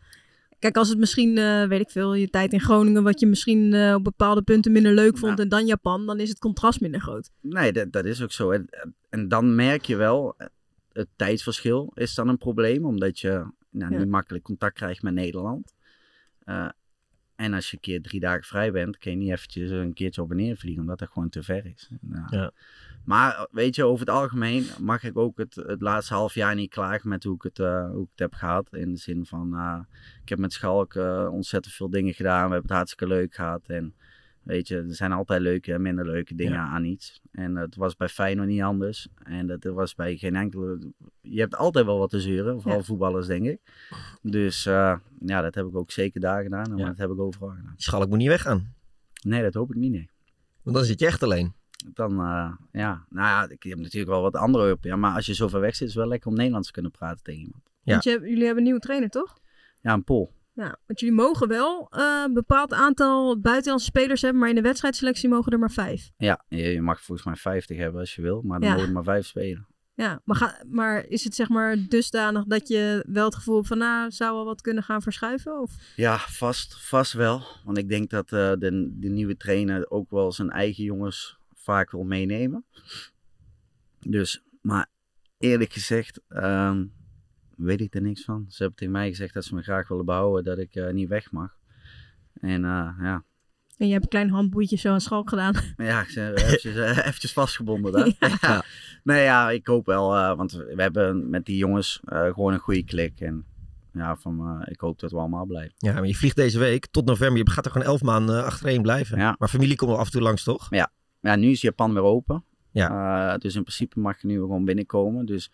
Kijk, als het misschien, eh, weet ik veel, je tijd in Groningen, wat je misschien eh, op bepaalde punten minder leuk vond en dan Japan, dan is het contrast minder groot.
Nee, dat, dat is ook zo. En, en dan merk je wel, eh, het tijdsverschil is dan een probleem, omdat je nou,
Ja.
niet makkelijk contact krijgt met Nederland. Eh, en als je een keer drie dagen vrij bent, kun je niet eventjes een keertje op en neer vliegen, omdat dat gewoon te ver is. Nou,
Ja.
Maar eh, weet je, over het algemeen mag ik ook het, het laatste half jaar niet klagen met hoe ik het, eh, hoe ik het heb gehad. In de zin van, eh, ik heb met Schalk eh, ontzettend veel dingen gedaan. We hebben het hartstikke leuk gehad. En weet je, er zijn altijd leuke en minder leuke dingen
Ja.
aan iets. En dat was bij Feyenoord niet anders. En dat was bij geen enkele... Je hebt altijd wel wat te zeuren, vooral
Ja.
voetballers denk ik. Dus eh, ja, dat heb ik ook zeker daar gedaan. Maar
Ja.
dat heb ik overal gedaan.
Schalk moet niet weggaan.
Nee, dat hoop ik niet, nee.
Want dan zit je echt alleen.
Dan, eh, ja. Nou ja, ik heb natuurlijk wel wat andere hulp. Ja, maar als je zo ver weg zit, is het wel lekker om Nederlands te kunnen praten tegen iemand.
Want je, jullie hebben een nieuwe trainer, toch?
Ja, een Pool.
Ja, want jullie mogen wel eh, een bepaald aantal buitenlandse spelers hebben, maar in de wedstrijdselectie mogen er maar vijf.
Ja, je je mag volgens mij 50 hebben als je wil, maar dan
Ja.
moet je maar 5 spelen.
Ja, maar, ga, maar is het zeg maar dusdanig dat je wel het gevoel hebt van, nou, zou wel wat kunnen gaan verschuiven? Of?
Ja, vast, vast wel. Want ik denk dat eh, de, de nieuwe trainer eh, ook wel zijn eigen jongens vaak wil meenemen. Dus, maar eerlijk gezegd, ehm, weet ik er niks van. Ze hebben tegen mij gezegd dat ze me graag willen behouden, dat ik eh, niet weg mag. En eh, ja,
En je hebt een klein handboeitje zo aan Schalk gedaan.
<laughs> Ja, ik zei, eventjes, eh,
<laughs>
eventjes vastgebonden daar. Ja. Nee, ja, ik hoop wel, eh, want we hebben met die jongens eh, gewoon een goede klik. En ja, van, eh, ik hoop dat we allemaal blijven.
Ja, maar je vliegt deze week tot november. Je gaat er gewoon elf maanden eh, achtereen blijven. Maar familie komt wel af en toe langs, toch?
Ja. ja, nu is Japan weer open. Ja. dus in principe mag je nu gewoon binnenkomen. Dus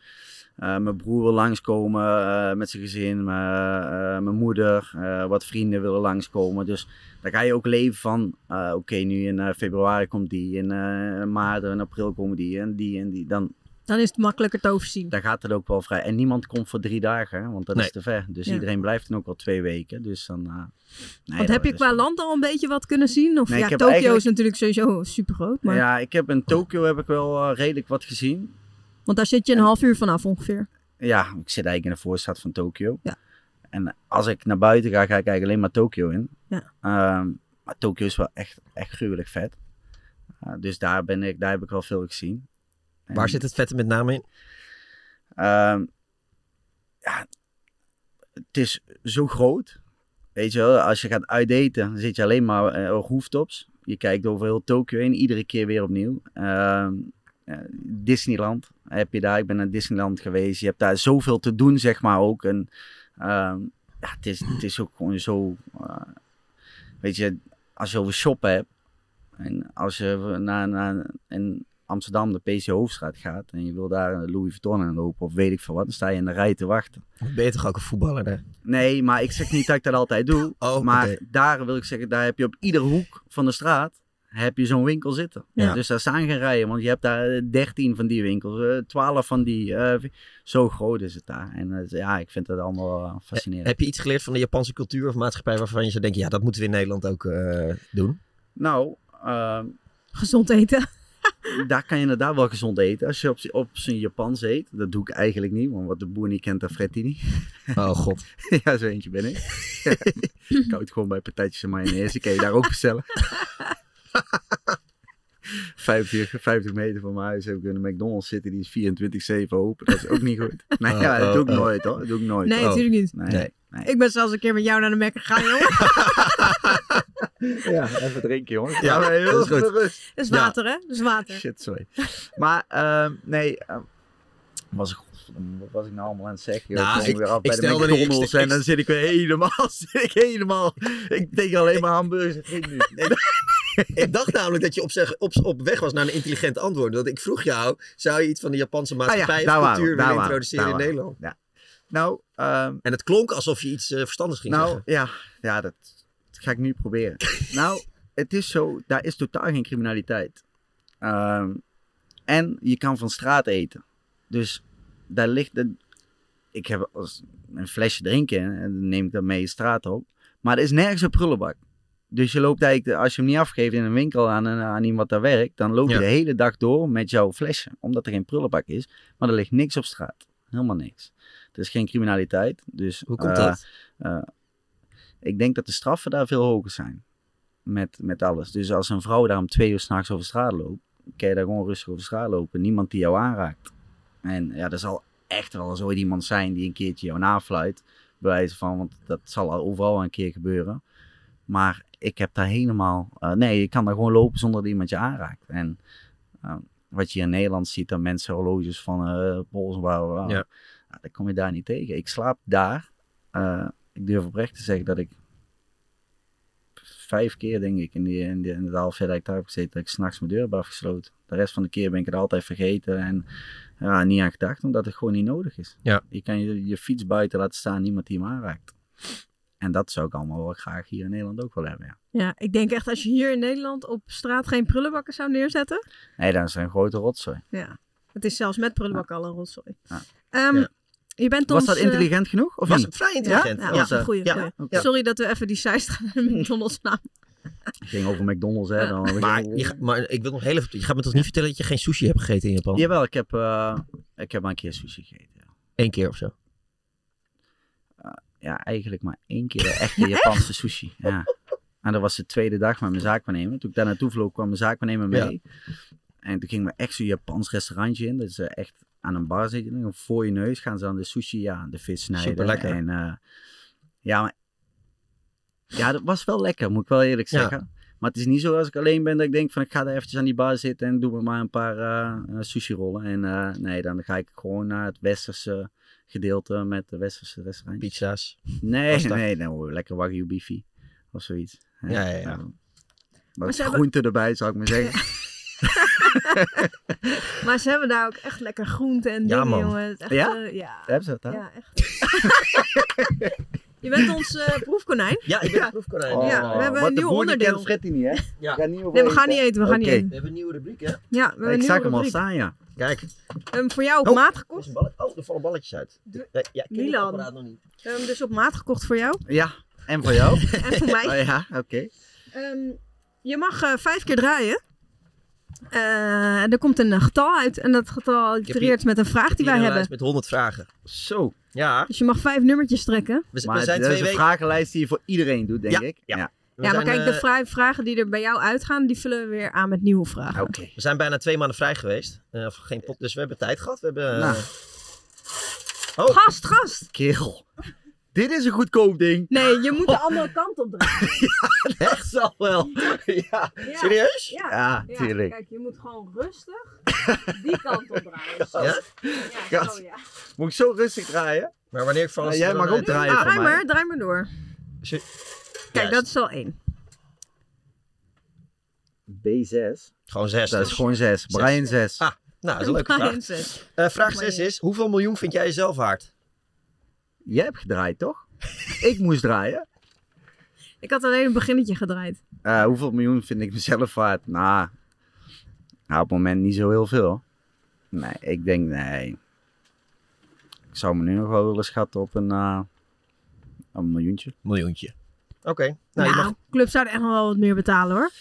eh, mijn broer wil langskomen eh met zijn gezin, mijn, eh, mijn moeder, eh, wat vrienden willen langskomen. Dus daar ga je ook leven van, eh, oké, nu in eh, februari komt die, in eh, maart en april komen die en die en die. Dan
Dan is het makkelijker te overzien.
daar gaat het ook wel vrij. En niemand komt voor drie dagen, hè, want dat
Nee.
is te ver. Dus
Ja.
iedereen blijft dan ook wel twee weken. Dus dan. eh, nee,
Want
dat
heb je
is-
qua land al een beetje wat kunnen zien? Of
Nee,
ja,
ik heb
Tokio is
eigenlijk-
natuurlijk sowieso super groot. Maar...
Ja, ik heb in Tokio heb ik wel eh, redelijk wat gezien.
Want daar zit je een half uur vanaf ongeveer.
Ja, ik zit eigenlijk in de voorstad van Tokio. En als ik naar buiten ga, ga ik eigenlijk alleen maar Tokio in.
Ja.
Ehm, maar Tokio is wel echt, echt gruwelijk vet. Eh, dus daar, ben ik, daar heb ik wel veel gezien.
Waar zit het vette met name in?
Ehm, ja, het is zo groot. Weet je wel, als je gaat uitdaten, dan zit je alleen maar eh, op rooftops. Je kijkt over heel Tokio heen, iedere keer weer opnieuw. Ehm, eh, Disneyland. heb je daar. Ik ben naar Disneyland geweest. Je hebt daar zoveel te doen, zeg maar ook. En ehm, ja, het, is, het is ook gewoon zo. eh, weet je, als je over shoppen hebt. En als je naar, naar in Amsterdam de PC Hoofdstraat gaat. En je wil daar een Louis Vuitton aan lopen of weet ik veel wat. Dan sta je in de rij te wachten.
Ben je toch ook een voetballer, hè? Oh,
Nee, maar ik zeg niet dat ik dat altijd doe. maar daar wil ik zeggen, daar heb je op iedere hoek van de straat heb je zo'n winkel zitten.
Ja.
Dus daar staan geen rijen, want je hebt daar eh, 13 van die winkels, eh, 12 van die. eh, zo groot is het daar. En eh, ja, ik vind dat allemaal eh, fascinerend.
Heb je iets geleerd van de Japanse cultuur of maatschappij waarvan je zou denken, ja, dat moeten we in Nederland ook eh, doen?
Nou, ehm,
Gezond eten.
daar kan je inderdaad wel gezond eten. Als je op, z'n- op zijn Japans eet, dat doe ik eigenlijk niet, want wat de boer niet kent, dat fret hij niet.
Oh god.
<laughs> ja, zo eentje ben ik. ik hou het gewoon bij patatjes en mayonaise. Kan je daar ook bestellen. 50, 50 meter van mijn huis heb ik een McDonald's zitten. Die is 24-7 open. Dat is ook niet goed. Nee,
Oh,
ja, dat doe ik
oh, oh.
nooit hoor. Dat doe ik <laughs> nooit.
Nee, natuurlijk niet.
Nee. nee.
Ik ben zelfs een keer met jou naar de Mac gegaan,
<laughs>
joh.
Ja, even drinken jongens.
Ja,
maar heel
dat is goed.
veel rust.
Dat is
Ja.
water, hè? Dat is water.
<laughs> Shit, sorry. Maar ehm, nee, ehm, was ik, godverdomme, wat was ik nou allemaal aan het zeggen? joh?
Nou,
kom
ik-
weer af
ik
bij de
stelde die- ik-
McDonald's
ik-
en dan zit ik weer helemaal, <laughs> zit ik helemaal, ik denk alleen maar hamburgers en geen
<laughs>
nu.
ik dacht namelijk dat je op, zeg, op, op weg was naar een intelligent antwoord. Want ik vroeg jou, zou je iets van de Japanse maatschappij
Ah daar
of
waren we,
cultuur
daar
willen
waren we,
introduceren
daar
in
waren we.
Nederland?
Ja. Nou,
en het klonk alsof je iets eh, verstandigs ging
nou,
zeggen.
ja, ja dat, dat ga ik nu proberen.
<laughs>
nou, het is zo, daar is totaal geen criminaliteit. Ehm, en je kan van straat eten. Dus daar ligt, de, ik heb als een flesje drinken en dan neem ik dat mee de straat op. Maar er is nergens een prullenbak. Dus je loopt eigenlijk, als je hem niet afgeeft in een winkel aan, een- aan iemand daar werkt, dan loop je
Ja.
de hele dag door met jouw flesje. Omdat er geen prullenbak is, maar er ligt niks op straat. Helemaal niks. Er is geen criminaliteit. Dus,
Hoe komt
eh,
dat?
eh, ik denk dat de straffen daar veel hoger zijn. Met, met alles. Dus als een vrouw daar om twee uur s'nachts over straat loopt, kan je daar gewoon rustig over straat lopen. Niemand die jou aanraakt. En ja, er zal echt wel eens ooit iemand zijn die een keertje jou nafluit. Bij wijze van, want dat zal al overal een keer gebeuren. Maar ik heb daar helemaal. eh, nee, je kan daar gewoon lopen zonder dat iemand je aanraakt. En eh, wat je in Nederland ziet, dat mensen horloges van eh pols en waar. waar.
Ja.
Nou, dat kom je daar niet tegen. Ik slaap daar. eh, ik durf oprecht te zeggen dat ik vijf keer, denk ik, in, die, in, die, in het half jaar dat ik daar heb gezeten, dat ik s'nachts mijn deur heb afgesloten. De rest van de keer ben ik het altijd vergeten en ja, niet aan gedacht, omdat het gewoon niet nodig is.
Ja.
Je kan je, je fiets buiten laten staan, niemand die hem aanraakt. En dat zou ik allemaal wel graag hier in Nederland ook wel hebben, ja.
Ja, ik denk echt als je hier in Nederland op straat geen prullenbakken zou neerzetten.
Nee, dat is een grote rotzooi.
Ja, het is zelfs met prullenbakken al een rotzooi.
Ja.
Ehm, Je bent
Was
ons,
dat
eh,
intelligent genoeg? Of
was
niet?
het vrij intelligent.
Ja,
Was,
ja,
eh,
goeie,
ja,
goeie.
ja.
Sorry dat we even die site gaan met McDonald's naam.
Het ging over McDonald's, hè. Dan
Maar, je, ga- maar ik wil nog heel even, je gaat me toch niet vertellen dat je geen sushi hebt gegeten in Japan?
Jawel, ik heb, eh, ik heb maar een keer sushi gegeten. ja.
Eén keer of zo.
Ja, eigenlijk maar één keer de echte Japanse sushi. Ja. En dat was de tweede dag met mijn zaakwaarnemer. Toen ik daar naartoe vloog, kwam mijn zaakwaarnemer mee. En toen gingen we echt zo'n Japans restaurantje in. Dat is eh, echt aan een bar zitten. En voor je neus gaan ze dan de sushi, ja, de vis snijden.
Superlekker.
En, eh, ja, maar, ja, dat was wel lekker, moet ik wel eerlijk
Ja.
zeggen. Maar het is niet zo als ik alleen ben dat ik denk van ik ga daar eventjes aan die bar zitten en doe me maar een paar eh, eh, sushi rollen. En eh, nee, dan ga ik gewoon naar het westerse gedeelte met de westerse restaurant.
Pizza's.
Nee,
Pasta.
nee, nee hoor. Lekker wagyu beefy of zoiets. Hè?
Ja, ja, ja.
Nou,
Maar
wat
ze hebben-
groente erbij, zou ik maar zeggen.
Maar ze hebben daar ook echt lekker groenten en
Ja,
dingen,
man.
jongen. Het is echt,
Ja?
eh, ja.
Hebben ze dat daar?
Ja, echt. <laughs> je bent ons eh, proefkonijn.
Ja, ik ben het proefkonijn.
Oh.
Ja, we hebben
wat
een nieuw
de boer niet
onderdeel.
kent, fret hij niet, hè?
Ja.
Ga niet over
Nee, we gaan
eten.
niet eten, we gaan niet
Oké.
eten.
We hebben een nieuwe rubriek, hè?
Ja, we hebben een
Ik zag hem
nieuwe
al
rubriek.
staan, ja.
Kijk.
Ehm, voor jou op
Oh.
maat gekocht.
Oh, er vallen balletjes uit. Ja, ja, ik ken dit
Milan.
apparaat nog niet.
We hebben hem dus op maat gekocht voor jou
Ja, en voor <laughs> jou?
en voor mij.
Oh, ja, oké.
Ehm, je mag eh, vijf keer draaien. Eh, en er komt een eh, getal uit. En dat getal
hier-
itereert met een vraag die
Hier
wij
een
hebben.
lijst met 100 vragen.
Zo.
Ja.
Dus je mag vijf nummertjes trekken.
We, z- we
Maar
zijn
dat
twee
is een
weken...
vragenlijst die je voor iedereen doet, denk ik. Ja.
we
ja, maar
zijn,
kijk, de
eh,
vri- vragen die er bij jou uitgaan, die vullen we weer aan met nieuwe vragen.
Oké.
We zijn bijna twee maanden vrij geweest. Eh, of geen pot, dus we hebben tijd gehad. We hebben... eh,
Nou.
Oh. <laughs>
Gast, gast!
Kerel. Dit is een goedkoop ding.
Nee, je moet de andere kant op draaien.
Echt zal wel. ja.
Ja,
Serieus?
Ja,
Ja,
ja,
tuurlijk.
Kijk, je moet gewoon rustig die kant op draaien. Zo.
Ja?
Ja, zo, ja.
Moet ik zo rustig draaien?
Maar wanneer ik van
Nou, jij mag ook draaien
Ah,
voor
draai
mij.
maar, draai maar door. Kijk, dat is al één.
B6.
Gewoon 6.
Dat is gewoon 6.
Zes.
Brian 6.
Ah, nou, dat
<laughs>
is een leuke
Brian
vraag.
zes.
Eh, vraag 6 is, hoeveel miljoen vind jij jezelf waard?
Jij hebt gedraaid, toch? ik moest draaien.
Ik had alleen een beginnetje gedraaid.
Eh, hoeveel miljoen vind ik mezelf waard? Nou, nou, op het moment niet zo heel veel. Nee, ik denk nee. Ik zou me nu nog wel willen schatten op een, eh, een miljoentje.
Miljoentje. Oké.
Nou,
Nou, je mag...
clubs zouden echt nog wel wat meer betalen hoor.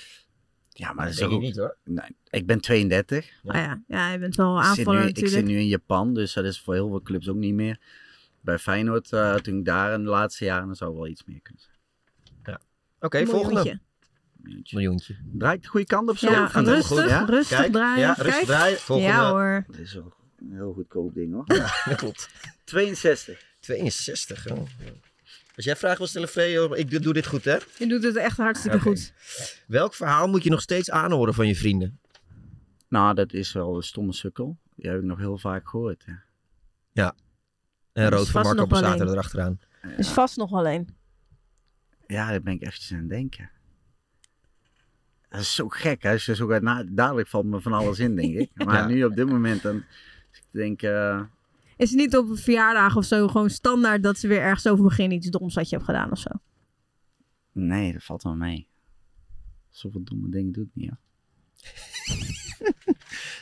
Ja, maar dat is
denk
ook-
ik niet, hoor.
Nee, ik ben 32.
Maar Ah ja, ja, je bent wel
Ik zit,
aanvaller
nu, ik
natuurlijk.
zit nu in Japan, dus dat is voor heel veel clubs ook niet meer. Bij Feyenoord, eh, toen ik daar in de laatste jaren, dan zou wel iets meer kunnen zijn.
Oké, volgende.
Miljoentje.
Miljoentje.
Draait de goede kant op zo?
Ja,
Gaat het
rustig,
goed, ja?
rustig
Kijk,
draaien.
ja, rustig
Kijk.
draaien. Volgende.
Ja hoor.
Dat is wel een heel goedkoop ding hoor.
Dat klopt.
62.
62, hè? Als jij vraagt wil stellen, Freo, ik doe- doe dit goed, hè?
Je doet het echt hartstikke
Oké.
goed.
Welk verhaal moet je nog steeds aanhoren van je vrienden?
Nou, dat is wel een stomme sukkel. Die heb ik nog heel vaak gehoord. Ja.
Ja. En
Er is
Eh, rood van
vast
Marco
nog wel
Passato
een.
erachteraan.
Er is vast nog wel één.
ja, daar ben ik eventjes aan het denken. Dat is zo gek, hè? Dus ook uit na- dadelijk valt me van alles in, denk ik. Maar
Ja.
nu op dit moment, dan, als ik denk, eh,
Is het niet op een verjaardag of zo gewoon standaard dat ze weer ergens over beginnen iets doms wat je hebt gedaan of zo?
Oh, nee, dat valt wel mee. Zoveel domme dingen doe ik niet, hoor.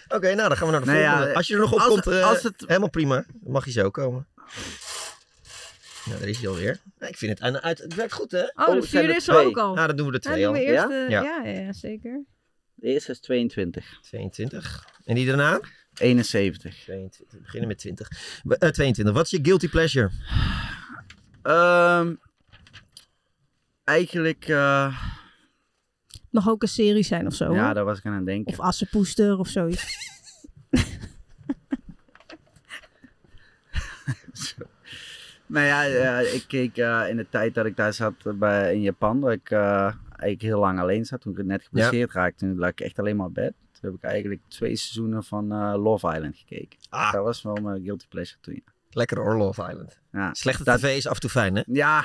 Oké, nou dan gaan we naar de
Nou ja,
volgende. als je er nog op
als-
komt, eh,
als het-
helemaal prima. Dan mag je zo komen. Nou, daar is hij alweer. Nou, ik vind het, en uit, het werkt goed, hè?
Oh, de
het zijn
vierde
er
is er
twee.
ook al.
Nou, dan doen we de
Ja,
twee
doen
al.
we eerst
Ja?
de-
Ja.
ja? Ja, zeker.
De eerste is 22.
22. En die daarna?
71.
22. We beginnen met 20. We- eh, 22. Wat is je guilty pleasure?
Ehm, eigenlijk, eh,
Nog ook een serie zijn of zo.
ja,
hoor.
daar was ik aan het denken.
Of assenpoester of zoiets.
Nou ja, eh, ik keek eh, in de tijd dat ik daar zat eh, bij, in Japan, dat ik eh, eigenlijk heel lang alleen zat. Toen ik net geblesseerd raakte, toen lag ik echt alleen maar op bed. Toen heb ik eigenlijk twee seizoenen van eh, Love Island gekeken.
Ah.
Dat was wel mijn guilty pleasure toen, ja.
Lekker Orlov Island.
ja.
Slechte
Dat-
tv is af en toe fijn, hè?
Ja,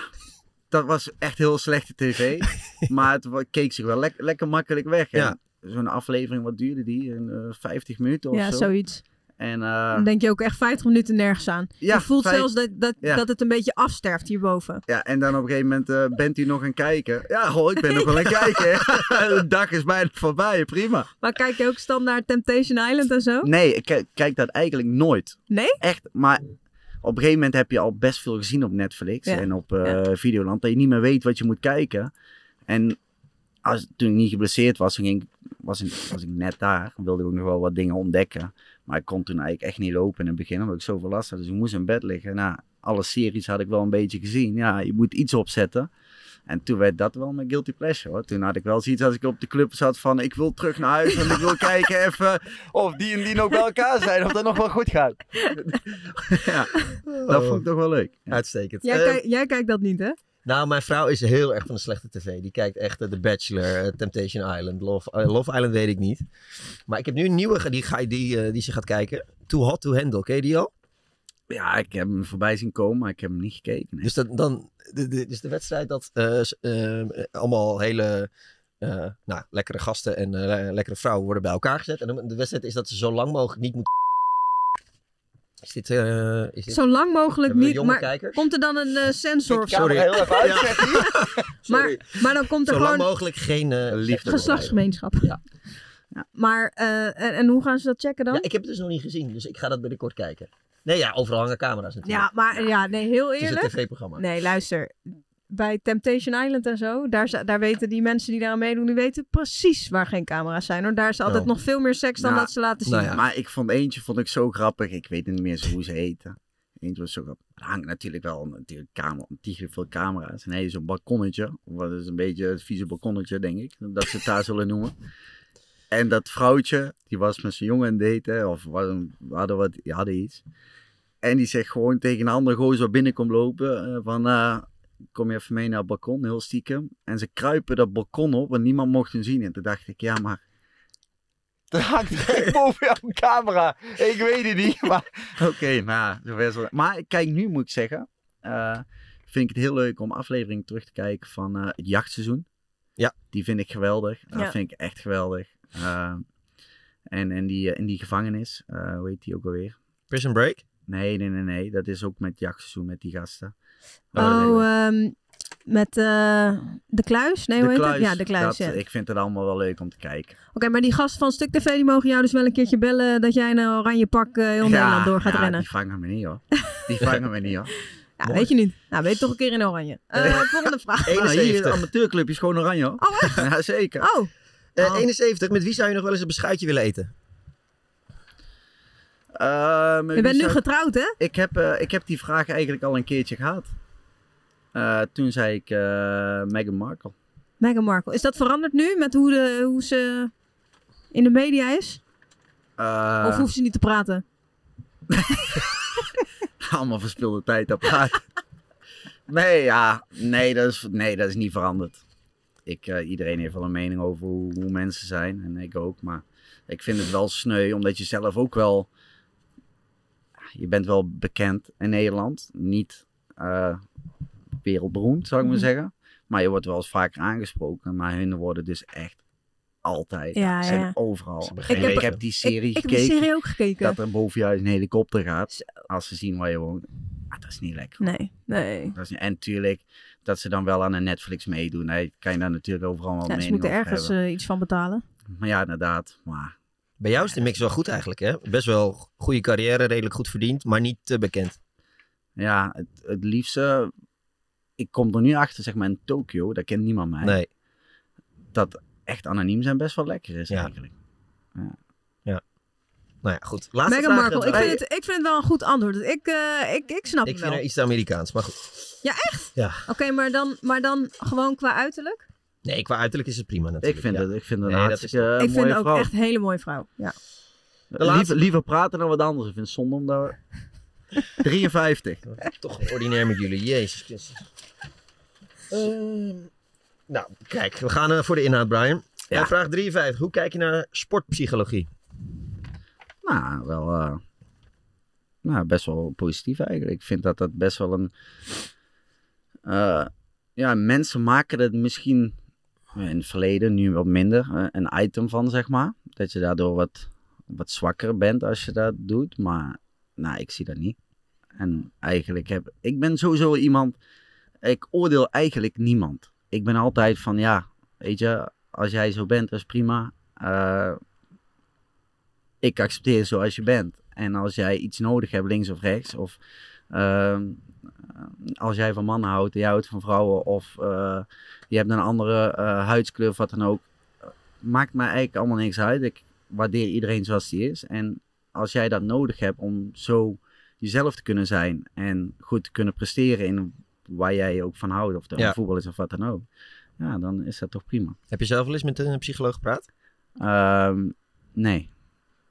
dat was echt heel slechte
<laughs>
tv. maar het wa- keek zich wel lek- lekker makkelijk weg. En
Ja.
Zo'n aflevering, wat duurde die? Een, eh, 50 minuten of
ja,
zo.
zoiets.
En eh,
Dan denk je ook echt 50 minuten nergens aan.
Ja,
je voelt
vijf-
zelfs dat, dat,
ja.
dat het een beetje afsterft hierboven.
Ja, en dan op een gegeven moment eh, bent u nog aan kijken. Ja, goh, ik ben nog wel
<laughs>
aan kijken. <laughs> De dag is bijna voorbij, prima.
Maar kijk je ook standaard Temptation Island en zo?
Nee, ik kijk- kijk dat eigenlijk nooit.
Nee?
Echt, maar op een gegeven moment heb je al best veel gezien op Netflix
Ja,
en op eh, Videoland. Dat je niet meer weet wat je moet kijken. En als, toen ik niet geblesseerd was, toen ging, ik- was, ik, was ik net daar. Wilde ik ook nog wel wat dingen ontdekken. Maar ik kon toen eigenlijk echt niet lopen in het begin, omdat ik zoveel last had. Dus ik moest in bed liggen. Nou, alle series had ik wel een beetje gezien. Ja, je moet iets opzetten. En toen werd dat wel mijn guilty pleasure hoor. Toen had ik wel zoiets als ik op de club zat van ik wil terug naar huis en ik <laughs> wil kijken even of die en die nog bij elkaar zijn. Of dat nog wel goed gaat. ja, dat vond ik toch wel leuk.
Oh, Uitstekend.
Jij,
Eh,
Ehm,
kijk- jij kijkt dat niet, hè?
Nou, mijn vrouw is heel erg van de slechte tv. Die kijkt echt eh, The Bachelor, eh, Temptation Island, Love, eh, Love Island weet ik niet. Maar ik heb nu een nieuwe ge- die, ga, die, eh, die ze gaat kijken. Too Hot To Handle, ken je die al?
Ja, ik heb hem voorbij zien komen, maar ik heb hem niet gekeken. nee.
Dus, dat, dan, de, de, dus de wedstrijd dat eh, s- ehm, eh, allemaal hele eh, nou, lekkere gasten en eh, lekkere vrouwen worden bij elkaar gezet. En dan- de wedstrijd is dat ze zo lang mogelijk niet moeten... Is dit... eh, is dit...
Zo lang mogelijk
Hebben we
niet.
jonge
maar
kijkers?
komt er dan een eh, sensor of zo?
Sorry. Heel
<laughs>
even uit,
Maar, maar dan komt er
Zo lang
gewoon
mogelijk geen eh,
Liefde.
geslachtsgemeenschap. <laughs>
Ja.
Maar, eh, en, en hoe gaan ze dat checken dan?
Ja, ik heb het dus nog niet gezien, dus ik ga dat binnenkort kijken. Nee, ja, overal hangen camera's natuurlijk.
Ja, maar ja, nee, heel
het is
eerlijk.
een tv-programma.
Nee, luister. Bij Temptation Island en zo, daar, za- daar weten die mensen die daar aan meedoen, die weten precies waar geen camera's zijn. Hoor. Daar is altijd
Oh.
nog veel meer seks dan
Nou,
dat ze laten zien.
nou ja.
Maar ik vond eentje vond ik zo grappig. Ik weet niet meer zo hoe ze heten. Eentje was zo grappig. Er hangt natuurlijk wel een- natuurlijk camera, ontiegelijk veel camera's. En hij is een balkonnetje. Wat is een beetje het vieze balkonnetje, denk ik. Dat ze het daar zullen noemen. En dat vrouwtje, die was met zijn jongen aan het daten. Of was een- hadden, wat, die hadden iets. En die zegt gewoon tegen een andere gozer binnenkomt lopen eh, van... eh, kom je even mee naar het balkon, heel stiekem. En ze kruipen dat balkon op, want niemand mocht hun zien. En toen dacht ik, ja, maar
Dat hangt direct boven jouw camera. Ik weet het niet, maar...
Oké, nou, zover zo. Maar ik kijk, nu moet ik zeggen, eh, vind ik het heel leuk om afleveringen terug te kijken van eh, het jachtseizoen.
Ja.
Die vind ik geweldig. Dat
Ja.
vind ik echt geweldig. Eh, en en die, eh, in die gevangenis, eh, hoe heet die ook alweer?
Prison Break?
Nee, nee, nee, nee. Dat is ook met het jachtseizoen met die gasten.
Oh, ehm, met eh, de kluis? Nee, hoe heet het? Ja, de kluis.
dat-
ja. Oké,
Ik vind het allemaal wel leuk om te kijken.
maar die gasten van Stuk TV die mogen jou dus wel een keertje bellen dat jij in een oranje pak eh, heel Nederland door gaat
ja,
rennen.
die vangen me niet hoor. Die vangen me niet hoor.
<laughs> Ja, weet je niet. Nou, weet toch een keer in
<laughs>
oranje. Eh, volgende vraag.
Nou, hier, de amateurclub is gewoon oranje hoor.
Oh, echt?
<laughs> Ja, zeker.
Oh.
Eh, 71, met wie zou je nog wel eens een beschuitje willen eten?
Eh, maar
Je bent
wie
nu
zou-
getrouwd, hè?
Ik heb, eh, ik heb die vraag eigenlijk al een keertje gehad. Eh, toen zei ik eh Meghan Markle.
Meghan Markle. Is dat veranderd nu met hoe, de, hoe ze in de media is?
Eh,
Of hoeft ze niet te praten?
Allemaal verspilde tijd apart. nee, ja, nee, dat is, nee, dat is niet veranderd. Ik, eh, iedereen heeft wel een mening over hoe, hoe mensen zijn. En ik ook. Maar ik vind het wel sneu, omdat je zelf ook wel. Je bent wel bekend in Nederland. Niet eh, wereldberoemd, zou ik maar
Mhm.
zeggen. Maar je wordt wel eens vaker aangesproken. Maar hun worden dus echt altijd.
Ja,
ze zijn
ja.
overal.
Ze begrijpen
ik,
het.
heb die serie
Ik- ik heb die
gekeken.
serie ook gekeken.
Dat er boven je huis een helikopter gaat. Als ze zien waar je woont. Ah, dat is niet lekker.
Nee, nee.
Dat is niet- en natuurlijk dat ze dan wel aan een Netflix meedoen. Hè, kan je daar natuurlijk overal wel
Ja,
mening
ze moeten
over
ergens
hebben.
eh, iets van betalen.
Maar ja, inderdaad. Maar
Bij jou is de mix wel goed eigenlijk, hè? Best wel goede carrière, redelijk goed verdiend, maar niet te bekend.
ja, het, het liefste... Ik kom er nu achter, zeg maar, in Tokio. Daar kent niemand mij.
Nee.
Dat echt anoniem zijn best wel lekker is eigenlijk. Ja.
ja. Nou ja, goed. Laatste
Meghan
vraag.
Markle. Ik
Hey,
vind, het, ik vind het wel een goed antwoord. Ik, eh, ik, ik snap
ik
het
vind
wel.
er iets te Amerikaans, maar goed.
Ja, echt?
Ja.
Oké, maar, dan, maar dan gewoon qua uiterlijk?
Nee, qua uiterlijk is het prima natuurlijk.
Ik vind
ja.
het- ik vind het een
dat
hartstikke
is-
mooie
ik vind ook
vrouw.
echt een hele mooie vrouw. Ja.
Liever, liever praten dan wat anders. Ik vind het zonde om
<laughs>
daar... 53.
Toch ordinair met jullie, jezus. Christus. Ehm, nou, kijk, we gaan eh, voor de inhoud, Brian. Eh, vraag 53. Hoe kijk je naar sportpsychologie?
Nou, wel. eh, nou, best wel positief eigenlijk. Ik vind dat dat best wel een. eh, ja, mensen maken het misschien in het verleden, nu wat minder, eh, een item van, zeg maar. Dat je daardoor wat, wat zwakker bent als je dat doet. Maar nou, ik zie dat niet. En eigenlijk heb ik ben sowieso iemand. Ik oordeel eigenlijk niemand. Ik ben altijd van ja, weet je, als jij zo bent, dat is prima. Eh, ik accepteer je zoals je bent. En als jij iets nodig hebt, links of rechts, of ehm, als jij van mannen houdt, en jij houdt van vrouwen, of eh, je hebt een andere eh, huidskleur of wat dan ook, eh, maakt mij eigenlijk allemaal niks uit. Ik waardeer iedereen zoals die is. En als jij dat nodig hebt om zo jezelf te kunnen zijn en goed te kunnen presteren in waar jij je ook van houdt, of dat
Ja.
het voetbal is of wat dan ook, ja, dan is dat toch prima.
Heb je zelf wel eens met een psycholoog gepraat?
Ehm, nee,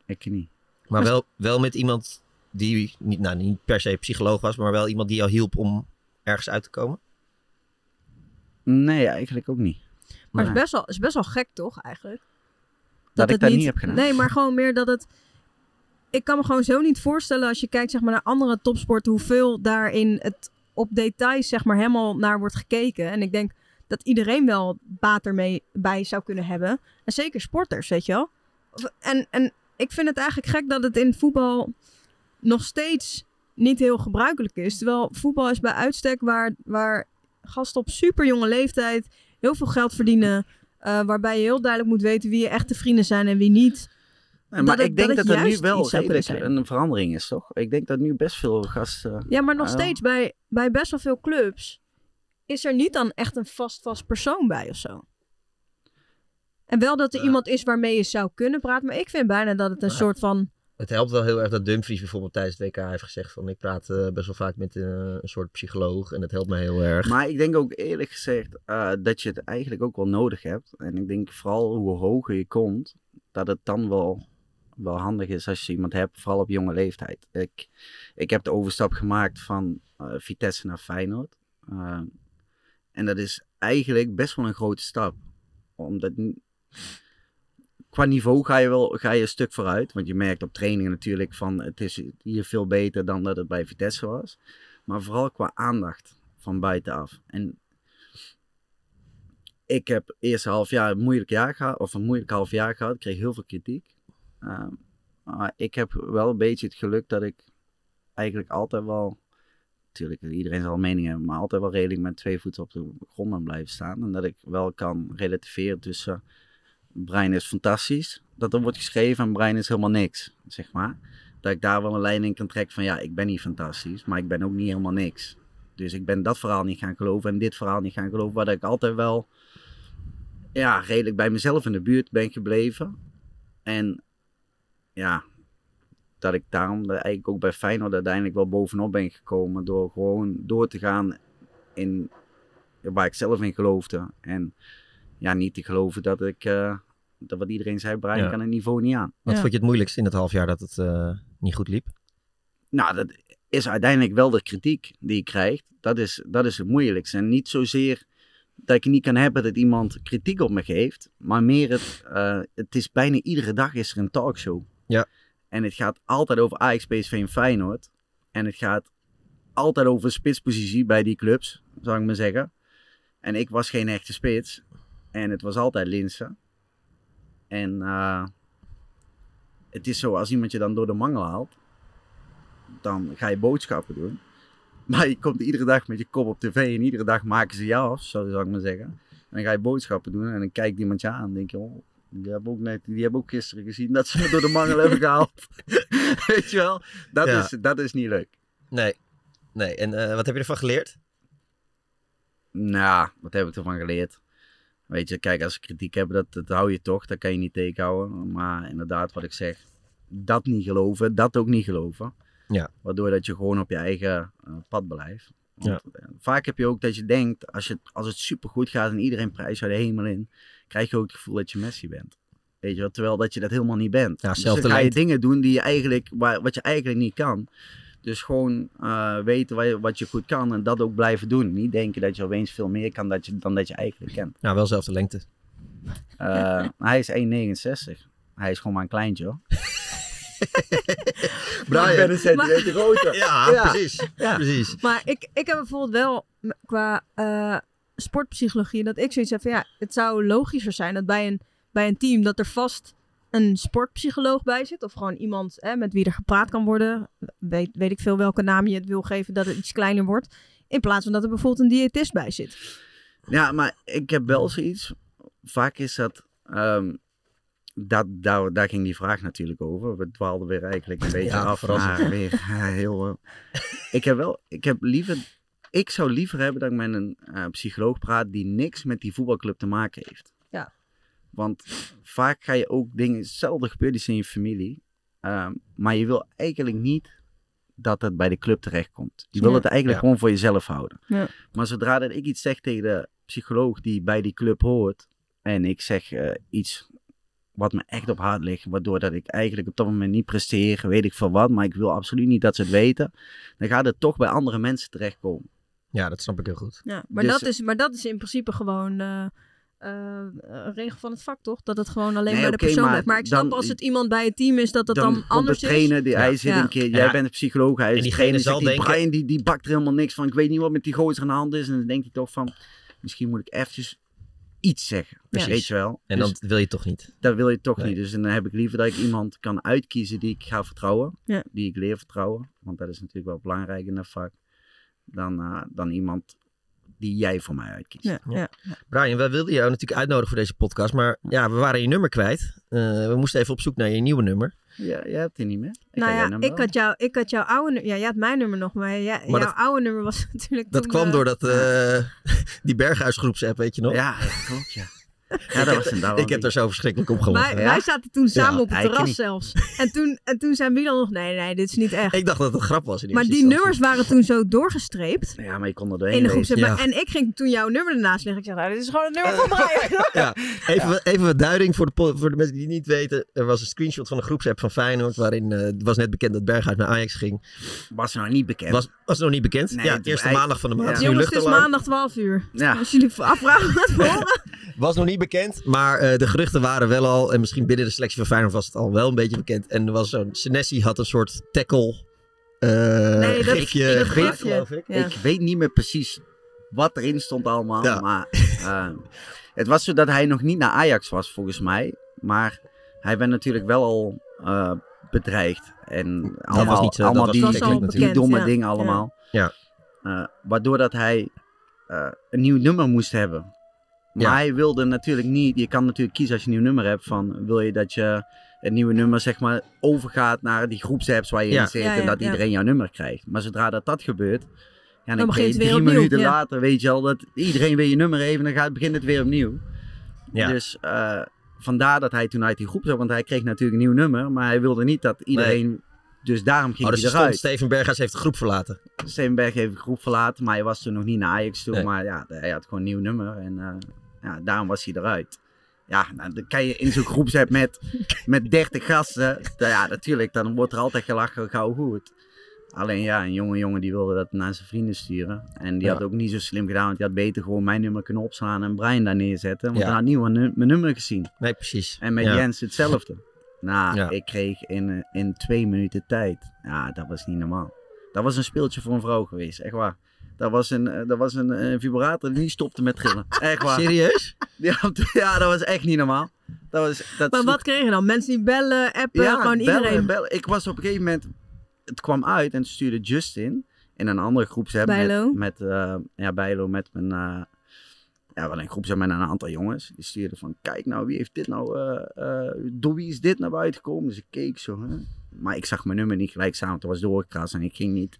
ik niet.
Maar wel, wel met iemand die niet, nou, niet per se psycholoog was, maar wel iemand die jou hielp om ergens uit te komen?
Nee, eigenlijk ook niet.
Maar
Nee.
het is best, wel, is best wel gek, toch, eigenlijk?
dat, ik
het
dat niet heb gedaan.
Nee, maar gewoon meer dat het... Ik kan me gewoon zo niet voorstellen als je kijkt zeg maar, naar andere topsporten... hoeveel daarin het op details zeg maar, helemaal naar wordt gekeken. En ik denk dat iedereen wel baat ermee bij zou kunnen hebben. En zeker sporters, weet je wel. Of- En, en ik vind het eigenlijk gek dat het in voetbal nog steeds niet heel gebruikelijk is. Terwijl voetbal is bij uitstek waar, waar gasten op super jonge leeftijd heel veel geld verdienen. eh, waarbij je heel duidelijk moet weten wie je echte vrienden zijn en wie niet.
Nee, maar
het-
ik denk dat,
het
er nu
juist
wel
iets zou kunnen
redelijk een verandering is, toch? Ik denk dat nu best veel gasten...
Ja, maar nog
eh,
steeds bij, bij best wel veel clubs is er niet dan echt een vast vast persoon bij of zo. En wel
Eh.
dat er iemand is waarmee je zou kunnen praten. Maar ik vind bijna dat het een soort van...
Het helpt wel heel erg dat Dumfries bijvoorbeeld tijdens het WK heeft gezegd van ik praat eh, best wel vaak met eh, een soort psycholoog en dat helpt mij heel erg.
Maar ik denk ook eerlijk gezegd eh, dat je het eigenlijk ook wel nodig hebt. En ik denk vooral hoe hoger je komt, dat het dan wel wel handig is als je iemand hebt, vooral op jonge leeftijd. Ik, ik heb de overstap gemaakt van eh, Vitesse naar Feyenoord. Eh, en dat is eigenlijk best wel een grote stap. Omdat n- qua niveau ga je wel ga je een stuk vooruit. Want je merkt op trainingen natuurlijk van het is hier veel beter dan dat het bij Vitesse was. Maar vooral qua aandacht van buitenaf. En ik heb eerste half jaar een moeilijk jaar gehad, of een moeilijk half jaar gehad. Ik kreeg heel veel kritiek. Ehm, maar ik heb wel een beetje het geluk dat ik eigenlijk altijd wel, natuurlijk iedereen zal meningen hebben, maar altijd wel redelijk met twee voeten op de grond ben blijven staan. En dat ik wel kan relativeren tussen Brein is fantastisch, dat er wordt geschreven en Brein is helemaal niks, zeg maar. Dat ik daar wel een lijn in kan trekken van ja, ik ben niet fantastisch, maar ik ben ook niet helemaal niks. Dus ik ben dat verhaal niet gaan geloven en dit verhaal niet gaan geloven, waar dat ik altijd wel ja, redelijk bij mezelf in de buurt ben gebleven. En ja, dat ik daarom er eigenlijk ook bij Feyenoord uiteindelijk wel bovenop ben gekomen door gewoon door te gaan in waar ik zelf in geloofde. En ja, niet te geloven dat ik, eh, dat wat iedereen zei, Brian
Ja.
kan het niveau niet aan.
Wat vond je het moeilijkst in het half jaar dat het eh, niet goed liep?
Nou, dat is uiteindelijk wel de kritiek die je krijgt. Dat is, dat is het moeilijkste. En niet zozeer dat ik het niet kan hebben dat iemand kritiek op me geeft. Maar meer het, eh, het is bijna iedere dag is er een talkshow.
Ja.
En het gaat altijd over Ajax, PSV en Feyenoord. En het gaat altijd over spitspositie bij die clubs, zou ik maar zeggen. En ik was geen echte spits. En het was altijd Linsen. En eh, het is zo, als iemand je dan door de mangel haalt, dan ga je boodschappen doen. Maar je komt iedere dag met je kop op tv en iedere dag maken ze jou af, zo zou ik maar zeggen. En dan ga je boodschappen doen en dan kijkt iemand je aan en denk je, oh, die hebben ook, net, die hebben ook gisteren gezien dat ze me door de mangel hebben gehaald. <laughs> Weet je wel? Dat,
Ja.
is, dat is niet leuk.
Nee. Nee. En eh, wat heb je ervan geleerd?
Nou, wat heb ik ervan geleerd? Weet je, kijk, als ze kritiek hebben, dat, dat hou je toch. Dat kan je niet tegenhouden. Maar inderdaad, wat ik zeg, dat niet geloven, dat ook niet geloven.
Ja.
Waardoor dat je gewoon op je eigen eh, pad blijft. Want,
Ja.
eh, Vaak heb je ook dat je denkt, als, je, als het supergoed gaat en iedereen prijs uit de hemel in, krijg je ook het gevoel dat je Messi bent. Weet je wel, terwijl dat je dat helemaal niet bent.
Ja,
Dus dan ga je
zelftalent.
dingen doen die je eigenlijk, waar, wat je eigenlijk niet kan. Dus gewoon eh, weten wat je, wat je goed kan en dat ook blijven doen. Niet denken dat je opeens veel meer kan dat je, dan dat je eigenlijk kent.
Nou, wel zelfde lengte.
<laughs> Eh, hij is 1,69. Hij is gewoon maar een kleintje <laughs> hoor.
Brian.
Ik ben een centimeter groter.
Ja, precies. Precies.
Maar ik, ik heb bijvoorbeeld wel m- qua eh, sportpsychologie dat ik zoiets heb van ja, het zou logischer zijn dat bij een, bij een team dat er vast een sportpsycholoog bij zit of gewoon iemand hè, met wie er gepraat kan worden. Weet, weet ik veel welke naam je het wil geven dat het iets kleiner wordt. In plaats van dat er bijvoorbeeld een diëtist bij zit.
Ja, maar ik heb wel zoiets. Vaak is dat. ehm, dat daar, daar ging die vraag natuurlijk over. We dwaalden weer eigenlijk een beetje
Ja,
af.
verrassend.
naar weer eh, heel. eh, ik heb wel. Ik heb liever. Ik zou liever hebben dat ik met een eh, psycholoog praat die niks met die voetbalclub te maken heeft.
Ja.
Want vaak ga je ook dingen. Hetzelfde gebeurt iets in je familie. ehm, maar je wil eigenlijk niet dat het bij de club terechtkomt. Je wil
Ja.
het eigenlijk
Ja.
gewoon voor jezelf houden.
Ja.
Maar zodra dat ik iets zeg tegen de psycholoog die bij die club hoort. En ik zeg eh, iets wat me echt op hart ligt. Waardoor dat ik eigenlijk op dat moment niet presteer. Weet ik van wat. Maar ik wil absoluut niet dat ze het weten. Dan gaat het toch bij andere mensen terechtkomen.
Ja, dat snap ik heel goed.
Ja, maar,
Dus-
dat is, maar dat is in principe gewoon eh, eh, een regel van het vak, toch? Dat het gewoon alleen
Nee,
bij de
oké,
persoon
maar
blijft. Maar ik snap
dan-
als het iemand bij het team is dat dat dan,
komt
anders
de trainer,
is.
die, hij zit
Ja.
een keer,
Ja.
jij bent een psycholoog, hij is
En diegene
trainer,
zal
zegt die
denken-
Brian die, die bakt er helemaal niks van, ik weet niet wat met die gozer aan de hand is. En dan denkt hij toch van, misschien moet ik eventjes iets zeggen,
Precies.
weet je wel.
En
Dus-
dat wil je toch niet.
Dat wil je toch
Nee.
niet. Dus dan heb ik liever dat ik iemand kan uitkiezen die ik ga vertrouwen.
Ja.
Die ik leer vertrouwen. Want dat is natuurlijk wel belangrijk in dat vak. Dan, eh, dan iemand die jij voor mij uitkiest.
Ja, ja.
Brian, wij wilden jou natuurlijk uitnodigen voor deze podcast, maar ja, we waren je nummer kwijt. Eh, we moesten even op zoek naar je nieuwe nummer.
Ja, jij hebt die niet meer. Ik
nou
had jij
ja,
hem
ik
wel.
had, jou, ik had jouw oude nummer. Ja, jij had mijn nummer nog, maar, ja, jouw
dat-
oude nummer was <laughs> natuurlijk.
Dat
toen,
kwam
<laughs>
eh,
door dat, eh, die berghuisgroepsapp, weet je nog?
Ja, klopt, ja.
Ja, dat was inderdaad wel
Ik heb daar zo verschrikkelijk op gelachen.
Wij, wij zaten toen samen
Ja,
op het
ik
terras
niet.
zelfs. En toen, en toen zei Milan nog, nee, nee, dit is niet echt.
Ik dacht dat het een grap was. In
maar die nummers waren toen zo doorgestreept.
Ja, maar je kon er
In
doorheen
de groep
lezen.
zeg maar. En ik ging toen jouw nummer ernaast leggen. Ik zeg, nou, dit is gewoon het nummer van Brian.
<laughs> Ja, even, wat- even wat duiding voor de, po- voor de mensen die het niet weten. Er was een screenshot van een groepsapp van Feyenoord. Waarin eh, het was net bekend dat Berghuis naar Ajax ging.
Was nou niet bekend.
Was, was nog niet bekend.
Nee,
ja,
het-
het eerste
hij-
maandag van de maand.
Ja.
is nu
Jongens, het is
luchtalarm.
maandag 12 uur. Dus
Ja.
Als jullie afvragen wat we horen.
Was nog niet bekend, maar eh, de geruchten waren wel al. En misschien binnen de selectie van Feyenoord was het al wel een beetje bekend. En er was zo'n... Senesi had een soort tackle... eh
Nee, dat-
gifje
dat
gemaakt,
gifje.
geloof ik.
Ja.
eh, Ik weet niet meer precies wat erin stond allemaal.
Ja.
Maar eh, het was zo dat hij nog niet naar Ajax was, volgens mij. Maar hij werd natuurlijk wel al eh, bedreigd. En allemaal,
was niet zo- dat
allemaal
was
die,
niet
die,
zo bekend natuurlijk.
domme
Ja.
dingen allemaal.
Ja.
Eh, waardoor dat hij eh, een nieuw nummer moest hebben. Maar
Ja.
hij wilde natuurlijk niet... Je kan natuurlijk kiezen als je een nieuw nummer hebt van... Wil je dat je het nieuwe nummer zeg maar overgaat naar die groepsapps waar je
Ja.
in zit...
Ja,
en
ja,
dat
ja.
iedereen jouw nummer krijgt. Maar zodra dat dat gebeurt... Ja, dan, ben
Dan
je
begint het weer
drie
opnieuw,
minuten
ja.
later, weet je al, dat iedereen weer je nummer heeft en dan gaat, begint het weer opnieuw.
Ja.
Dus eh, vandaar dat hij toen uit die groep zat, want hij kreeg natuurlijk een nieuw nummer, maar hij wilde niet dat iedereen... Dus daarom ging
Oh, dus
hij
er stond
eruit.
Steven Berghuis heeft de groep verlaten.
Steenberg heeft de groep verlaten, maar hij was toen nog niet naar Ajax toe.
Nee.
Maar ja, hij had gewoon een nieuw nummer en eh, ja, daarom was hij eruit. Ja, nou, dan kan je in zo'n groep zijn
<laughs>
met, met 30 gasten. Nou ja, natuurlijk, dan wordt er altijd gelachen, gauw goed. Alleen ja, een jonge jongen die wilde dat naar zijn vrienden sturen. En die
Ja.
had ook niet zo slim gedaan, want die had beter gewoon mijn nummer kunnen opslaan en Brian daar neerzetten. Want
Ja.
dan had niemand nu- mijn nummer gezien.
Nee, precies.
En met
Ja.
Jens hetzelfde. Nou,
Ja.
ik kreeg in, eh, in twee minuten tijd. Ja, dat was niet normaal. Dat was een speeltje voor een vrouw geweest, echt waar. Dat was een, eh, dat was een, eh, vibrator die niet stopte met trillen. Echt waar.
Serieus?
Ja, ja, dat was echt niet normaal. Dat was, dat
Maar
sloeg-
wat kregen dan? Mensen die bellen, appen,
ja,
gewoon
bellen,
iedereen.
bellen. Ik was op een gegeven moment... Het kwam uit en stuurde Justin in een andere groepsapp
Bijlo.
met... met eh, ja, Bijlo met mijn... eh, ja, wel een groepsapp met een aantal jongens. Die stuurde van, kijk nou, wie heeft dit nou... eh, eh, door wie is dit naar buiten gekomen? Dus ik keek zo, hè. Maar ik zag mijn nummer niet gelijk staan, want het was doorgekrast en ik ging niet...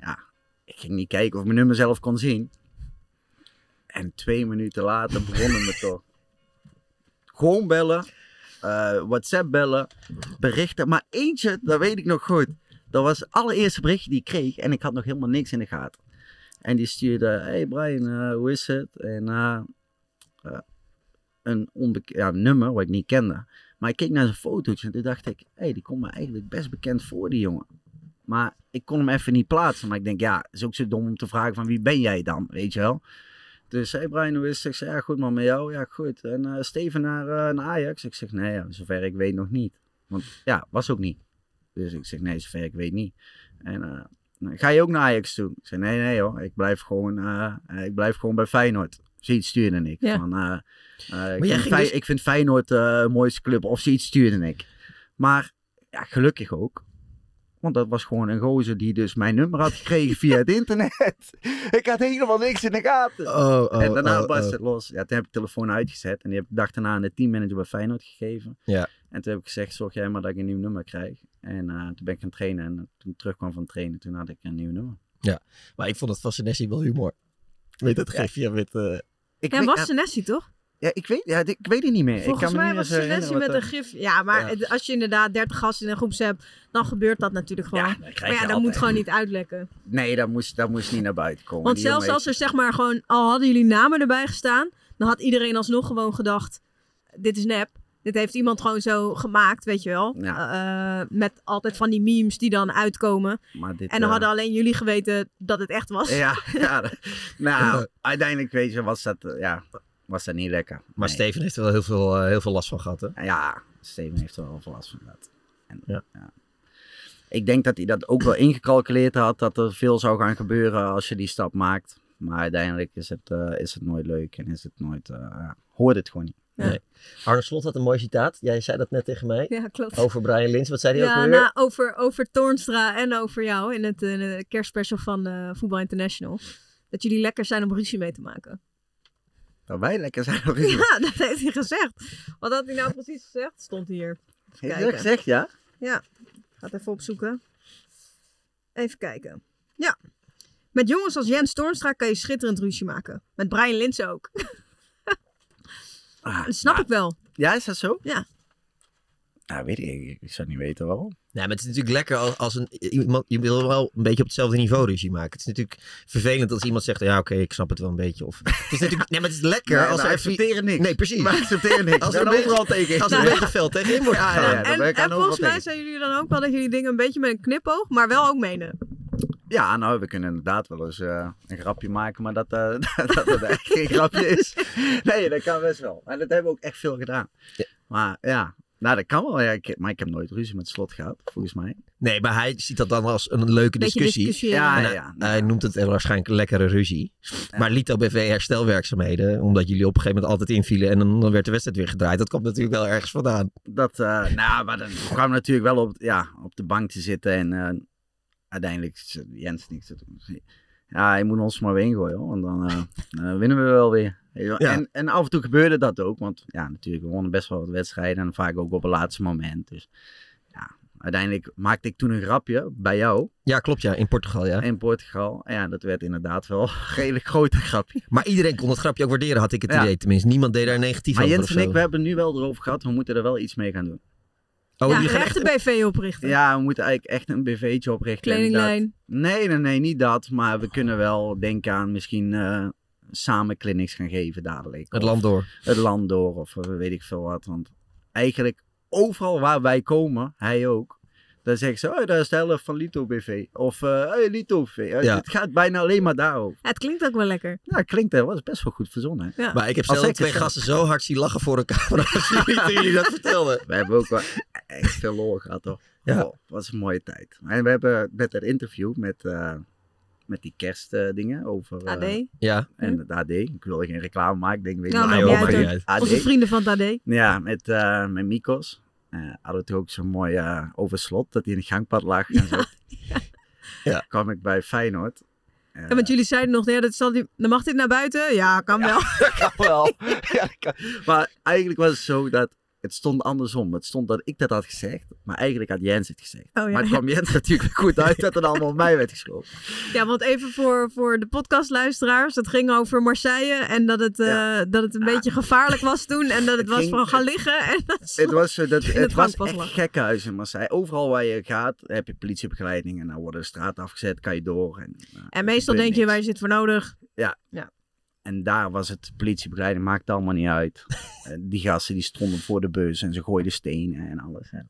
Ja, ik ging niet kijken of mijn nummer zelf kon zien. En twee minuten later begonnen we toch. <laughs> Gewoon bellen. eh, WhatsApp bellen. Berichten. Maar eentje, dat weet ik nog goed. Dat was het allereerste berichtje die ik kreeg. En ik had nog helemaal niks in de gaten. En die stuurde, hey Brian, eh, hoe is het? En eh, eh, een onbekend ja, een nummer wat ik niet kende. Maar ik keek naar zijn foto's en toen dacht ik, hey, die komt me eigenlijk best bekend voor, die jongen. Maar ik kon hem even niet plaatsen. Maar ik denk, ja, is ook zo dom om te vragen van wie ben jij dan, weet je wel? Dus hey Brian, hoe is het? Ik zeg, ja goed man, met jou? Ja goed. En eh, Steven naar, eh, naar Ajax? Ik zeg, nee, ja, zover ik weet nog niet. Want ja, was ook niet. Dus ik zeg, nee, zover ik weet niet. En eh, nou, ga je ook naar Ajax toe? Ik zeg, nee, nee hoor, ik blijf gewoon, eh, eh, ik blijf gewoon bij Feyenoord. Zoiets stuurde ik.
Ja.
Van, eh, eh, ik,
jij
vind
ging
Fey-
dus-
ik vind Feyenoord eh, een mooiste club. Of zoiets stuurde ik. Maar ja, gelukkig ook. Want dat was gewoon een gozer die dus mijn nummer had gekregen via het internet. <laughs> ik had helemaal niks in de gaten.
Oh, oh,
en daarna
oh,
was
oh.
het los. Ja, toen heb ik de telefoon uitgezet. En die heb ik de dag daarna aan de teammanager bij Feyenoord gegeven.
Ja.
En toen heb ik gezegd, zorg jij maar dat ik een nieuw nummer krijg. En eh, toen ben ik gaan trainen. En toen ik terugkwam van trainen, toen had ik een nieuw nummer.
Ja, maar ik vond het fascinatie wel humor. Weet dat gifje met...
<laughs>
eh,
Ik
ja,
weet-
was
ja,
Senesi toch?
ja, ik weet, ja, ik weet het niet meer. ik
Volgens
kan me
mij
niet
was
eens herinneren
Senesi
wat
met
er-
een gif. Ja, maar het- als je inderdaad 30 gasten in een groep hebt, dan gebeurt dat natuurlijk gewoon.
dan krijg
maar
je
ja, dat
altijd.
moet gewoon niet uitlekken.
Nee, dat moest, dat moest niet naar buiten komen.
Want
Die
zelfs
jongen
als er zeg maar gewoon, al hadden jullie namen erbij gestaan, dan had iedereen alsnog gewoon gedacht, dit is nep. Dit heeft iemand gewoon zo gemaakt, weet je wel. Eh, eh, met altijd van die memes die dan uitkomen.
Maar dit,
en dan
eh,
hadden alleen jullie geweten dat het echt was.
<laughs> Ja, ja dat- nou, uiteindelijk weet je, was dat, eh, ja, was dat niet lekker.
Maar
Nee.
Steven heeft er wel heel veel, eh, heel veel last van gehad, hè?
Nou Ja, Steven heeft er wel veel last van gehad. En, ja. Ik denk dat hij dat ook wel ingecalculeerd had, dat er veel zou gaan gebeuren als je die stap maakt. Maar uiteindelijk is het, eh, is het nooit leuk en is het nooit, eh, ja, hoort het gewoon niet.
Nee. Arne Slot had een mooi citaat. Jij zei dat net tegen mij.
<laughs> Ja, klopt.
Over Brian Lins. Wat zei hij ook
Ja,
weer?
nou, over, over Toornstra en over jou in het eh, kerstspecial van eh Voetbal International. Dat jullie lekker zijn om ruzie mee te maken. <laughs>
Dat wij lekker zijn nog eens.
Ja, dat heeft hij gezegd. Wat had hij nou precies gezegd? Stond hier. Even
Heeft hij
kijken.
dat gezegd, ja?
Ja, gaat even opzoeken. Even kijken. Ja. Met jongens als Jens Toornstra kan je schitterend ruzie maken. Met Brian Linsen ook. <laughs> dat snap ik wel.
Ah, Ja, is dat zo?
Ja.
Nou, weet ik. Ik zou niet weten waarom.
Nee, maar het is natuurlijk lekker als, als een, iemand. Je wil wel een beetje op hetzelfde niveau ruzie maken. Het is natuurlijk vervelend als iemand zegt: Ja, oké, ik snap het wel een beetje. Of, het is natuurlijk. Nee, maar het is lekker
Nee,
als
wij
er
accepteren niks.
Nee, precies.
Wij accepteren niks.
Als
We
er een
zijn
beetje,
overal tegen.
Als er een
Ja.
beetje fel tegenin wordt
Ja, ja,
gegaan.
ja,
en en volgens mij zijn jullie dan ook wel dat jullie dingen een beetje met een knipoog, maar wel ook menen.
Ja, nou, we kunnen inderdaad wel eens eh, een grapje maken, maar dat, eh, <laughs> dat het echt geen grapje is. Nee, dat kan best wel. En dat hebben we ook echt veel gedaan. Maar ja, nou, dat kan wel. Ja, ik, maar ik heb nooit ruzie met slot gehad, volgens mij.
Nee, maar hij ziet dat dan als een leuke
Beetje
discussie.
discussie, ja.
En
Ja,
hij,
ja,
hij noemt het waarschijnlijk een lekkere ruzie. Maar Lito BV herstelwerkzaamheden, omdat jullie op een gegeven moment altijd invielen en dan dan werd de wedstrijd weer gedraaid. Dat komt natuurlijk wel ergens vandaan.
Dat, eh, nou, maar dan kwam natuurlijk wel op, ja, op de bank te zitten en eh, uiteindelijk zit Jens niks te doen. Ja, je moet ons maar weer ingooien, hoor, want dan, eh, dan winnen we wel weer. Weet je wel.
Ja.
En, en af en toe gebeurde dat ook, want ja, natuurlijk, we wonnen best wel wat wedstrijden en vaak ook op het laatste moment. Dus ja, uiteindelijk maakte ik toen een grapje bij jou.
Ja, klopt ja, in Portugal ja.
In Portugal, En ja, dat werd inderdaad wel <laughs> een redelijk grote grapje.
Maar iedereen kon het grapje ook waarderen, had ik het
Ja.
idee tenminste. Niemand deed daar negatief
Maar
over
Jens
of
en
zo.
ik, we hebben het nu wel erover gehad, we moeten er wel iets mee gaan doen.
Oh,
ja, een echte BV oprichten.
Ja, we moeten eigenlijk echt een BV'tje oprichten.
Kledinglijn.
inderdaad. Nee, nee, nee, niet dat. Maar we kunnen wel denken aan misschien eh, samen clinics gaan geven dadelijk.
Het
Of
land door.
Het land door of eh, weet ik veel wat. Want eigenlijk overal waar wij komen, hij ook. Dan zeggen ze, oh, daar is de helft van Lito BV. Of, eh hey, Lito BV. Eh,
Ja.
Het gaat bijna alleen maar daarover.
Ja, het klinkt ook wel lekker.
Ja, klinkt dat was best wel goed verzonnen. hè?
Ja.
Maar ik heb
Als
zelf
ik
twee
het-
gasten zo hard zien lachen voor een <laughs> camera als jullie, toen jullie dat vertelden.
We hebben ook wel echt veel lol gehad, toch?
Ja.
Ja. was een mooie tijd. En we hebben met het interview met, eh, met die kerstdingen over... eh,
AD.
Ja.
En het AD. Ik wil geen reclame maken, denk ik. weet
Nou,
niet.
maakt niet
Maar
uit,
goed,
hoor.
AD.
Onze vrienden van het AD.
Ja, met, eh met Mikos. Eh hadden we ook zo'n mooi eh, overslot dat hij in het gangpad lag. En zo.
Ja.
kwam ik bij Feyenoord. Eh,
Ja, want jullie zeiden nog, ja, dat zal die, dan mag dit naar buiten? Ja, kan wel. <laughs>
wel. Ja, dat kan. Maar eigenlijk was het zo dat het stond andersom. Het stond dat ik dat had gezegd, maar eigenlijk had Jens het gezegd.
Oh, ja.
Maar het kwam Jens <laughs> natuurlijk goed uit dat het allemaal op mij werd geschoven.
<laughs> Ja, want even voor, voor de podcastluisteraars. Dat ging over Marseille en dat het, eh, dat het een beetje gevaarlijk was toen. En
<laughs>
dat het, was
ging-
van gaan liggen. En dat
Het was, zo dat,
In
het
het
was
gangpad
echt
lag.
gekkenhuis in Marseille. Overal waar je gaat heb je politiebegeleiding en dan worden de straat afgezet, kan je door. En, eh,
En meestal
gebeurt
denk je,
niks.
waar is dit voor nodig?
Ja.
Ja.
En daar was het politiebegeleiding, maakt allemaal niet uit. Eh, die gasten die stonden voor de bus en ze gooiden stenen en alles. hè. Er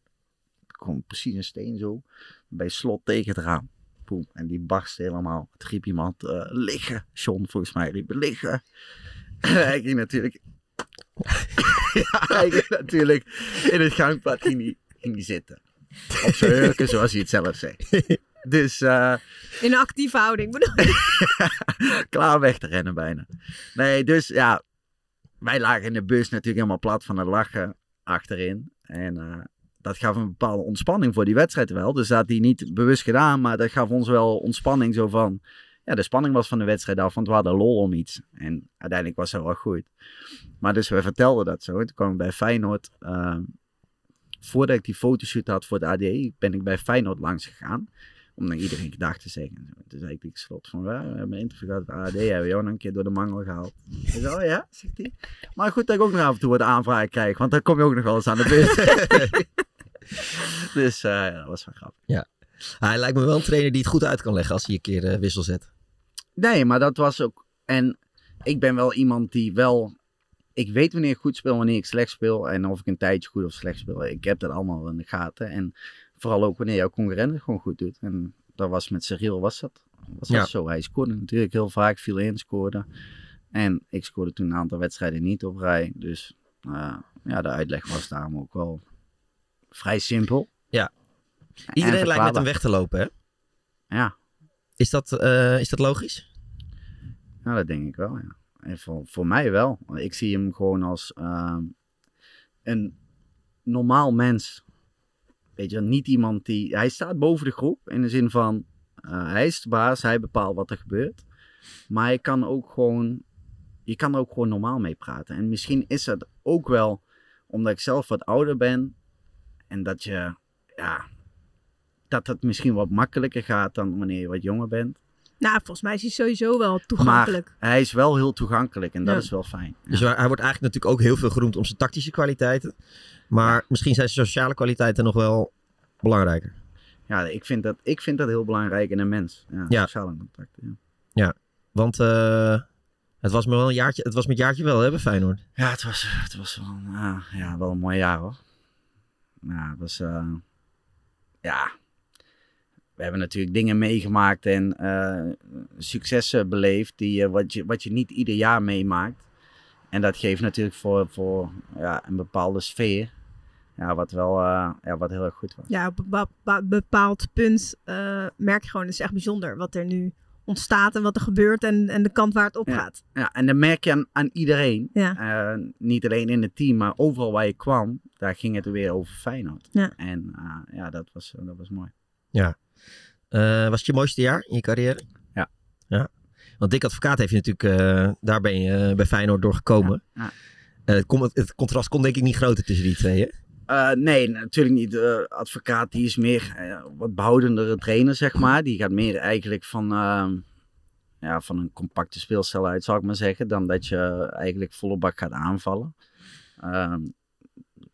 kwam precies een steen zo bij slot tegen het raam. Boem. En die barst helemaal. Het riep iemand, eh, liggen. John volgens mij riep, liggen. <laughs> hij ging natuurlijk... <laughs> ja, hij ging natuurlijk in het gangpad ging die, ging die zitten. Op zijn hurken, zoals hij het zelf zei. Dus... eh,
In een actieve houding. <laughs> bedoel ik.
<laughs> klaar weg te rennen bijna. Nee, dus ja, wij lagen in de bus natuurlijk helemaal plat van het lachen achterin. En eh, dat gaf een bepaalde ontspanning voor die wedstrijd wel. Dus dat had hij niet bewust gedaan, maar dat gaf ons wel ontspanning zo van... Ja, de spanning was van de wedstrijd af, want we hadden lol om iets. En uiteindelijk was dat wel goed. Maar dus we vertelden dat zo. En Toen kwam ik bij Feyenoord... eh, voordat ik die fotoshoot had voor de AD, E, ben ik bij Feyenoord langs gegaan. Om naar iedereen gedag te zeggen. en zo. Toen zei ik tegen slot van, "Ja, we hebben een interview gehad bij AD, hebben we jou nog een keer door de mangel gehaald. Hij zei, oh ja, zegt hij. Maar goed dat ik ook nog af en toe wat aanvragen krijg, want dan kom je ook nog wel eens aan de beurt. <laughs> dus eh, ja, dat was wel grappig.
Ja. Hij lijkt me wel een trainer die het goed uit kan leggen als hij een keer eh, wissel zet.
Nee, maar dat was ook. En ik ben wel iemand die wel. Ik weet wanneer ik goed speel, wanneer ik slecht speel. En of ik een tijdje goed of slecht speel. Ik heb dat allemaal in de gaten. En vooral ook wanneer jouw concurrent het gewoon goed doet. En dat was met Cyril, was dat. Was dat
Ja.
zo? Hij scoorde natuurlijk heel vaak, viel in, scoorde. En ik scoorde toen een aantal wedstrijden niet op rij. Dus eh, ja, de uitleg was daarom ook wel vrij simpel.
Ja.
En
Iedereen lijkt met
verklaarbaar.
hem weg te lopen, hè?
Ja.
Is dat, eh, is dat logisch?
Nou, dat denk ik wel, ja. En voor, voor mij wel. Want Ik zie hem gewoon als ehm, een normaal mens. Weet je, niet iemand die... Hij staat boven de groep in de zin van... eh, hij is de baas, hij bepaalt wat er gebeurt. Maar hij kan ook gewoon... Je kan er ook gewoon normaal mee praten. En misschien is dat ook wel omdat ik zelf wat ouder ben. En dat je... Ja, dat het misschien wat makkelijker gaat dan wanneer je wat jonger bent.
Nou, volgens mij is hij sowieso wel toegankelijk.
Maar hij is wel heel toegankelijk en dat
Ja.
is wel fijn.
Dus hij hij wordt eigenlijk natuurlijk ook heel veel geroemd om zijn tactische kwaliteiten. Maar misschien zijn zijn sociale kwaliteiten nog wel belangrijker.
Ja, ik vind dat, ik vind dat heel belangrijk in een mens. Ja,
Ja.
sociale contacten. Ja.
Ja, want eh, het was me wel een jaartje, het was met jaartje wel, hè, bij Feyenoord.
Ja, het was, het was wel, een, ah, ja, wel een mooi jaar hoor. Nou, het was, eh, ja, we hebben natuurlijk dingen meegemaakt en eh, successen beleefd die, eh, wat, je, wat je niet ieder jaar meemaakt. En dat geeft natuurlijk voor, voor ja, een bepaalde sfeer, ja, wat wel eh, ja, wat heel erg goed was.
Ja, op een bepa- bepa- bepaald punt eh, merk je gewoon, het is echt bijzonder wat er nu ontstaat en wat er gebeurt en, en de kant waar het op gaat.
Ja, ja, en dan merk je aan, aan iedereen, eh, niet alleen in het team, maar overal waar je kwam, daar ging het weer over Feyenoord.
Ja.
En eh, ja, dat was, dat was mooi.
Ja. Eh, was het je mooiste jaar in je carrière?
Ja.
ja. Want Dick Advocaat heeft je natuurlijk, eh, daar ben je eh, bij Feyenoord doorgekomen.
Ja.
Eh, het, kon- het contrast kon denk ik niet groter tussen die twee, hè?
Eh, nee, natuurlijk niet. De advocaat die is meer eh, wat behoudendere trainer, zeg maar. Die gaat meer eigenlijk van, ehm, ja, van een compacte speelstijl uit, zou ik maar zeggen. Dan dat je eigenlijk volle bak gaat aanvallen. Ehm,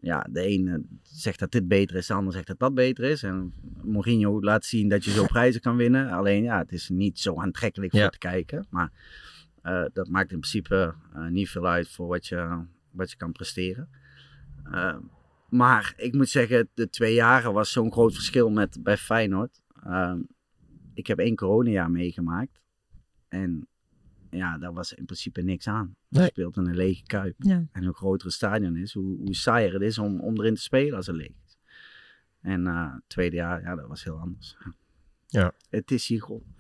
ja, de ene zegt dat dit beter is, de ander zegt dat dat beter is. En Mourinho laat zien dat je zo prijzen kan winnen. Alleen ja, het is niet zo aantrekkelijk voor te kijken. Maar eh, dat maakt in principe eh, niet veel uit voor wat je, wat je kan presteren. Eh, maar ik moet zeggen, de twee jaren was zo'n groot verschil met bij Feyenoord. Eh, ik heb één coronajaar meegemaakt. En ja, daar was in principe niks aan. Je
Nee.
speelt in een lege kuip.
Ja.
En hoe groter het stadion is, hoe, hoe saaier het is om, om erin te spelen als het leeg is. En eh, het tweede jaar, ja, dat was heel anders.
Ja.
Het is hier gewoon...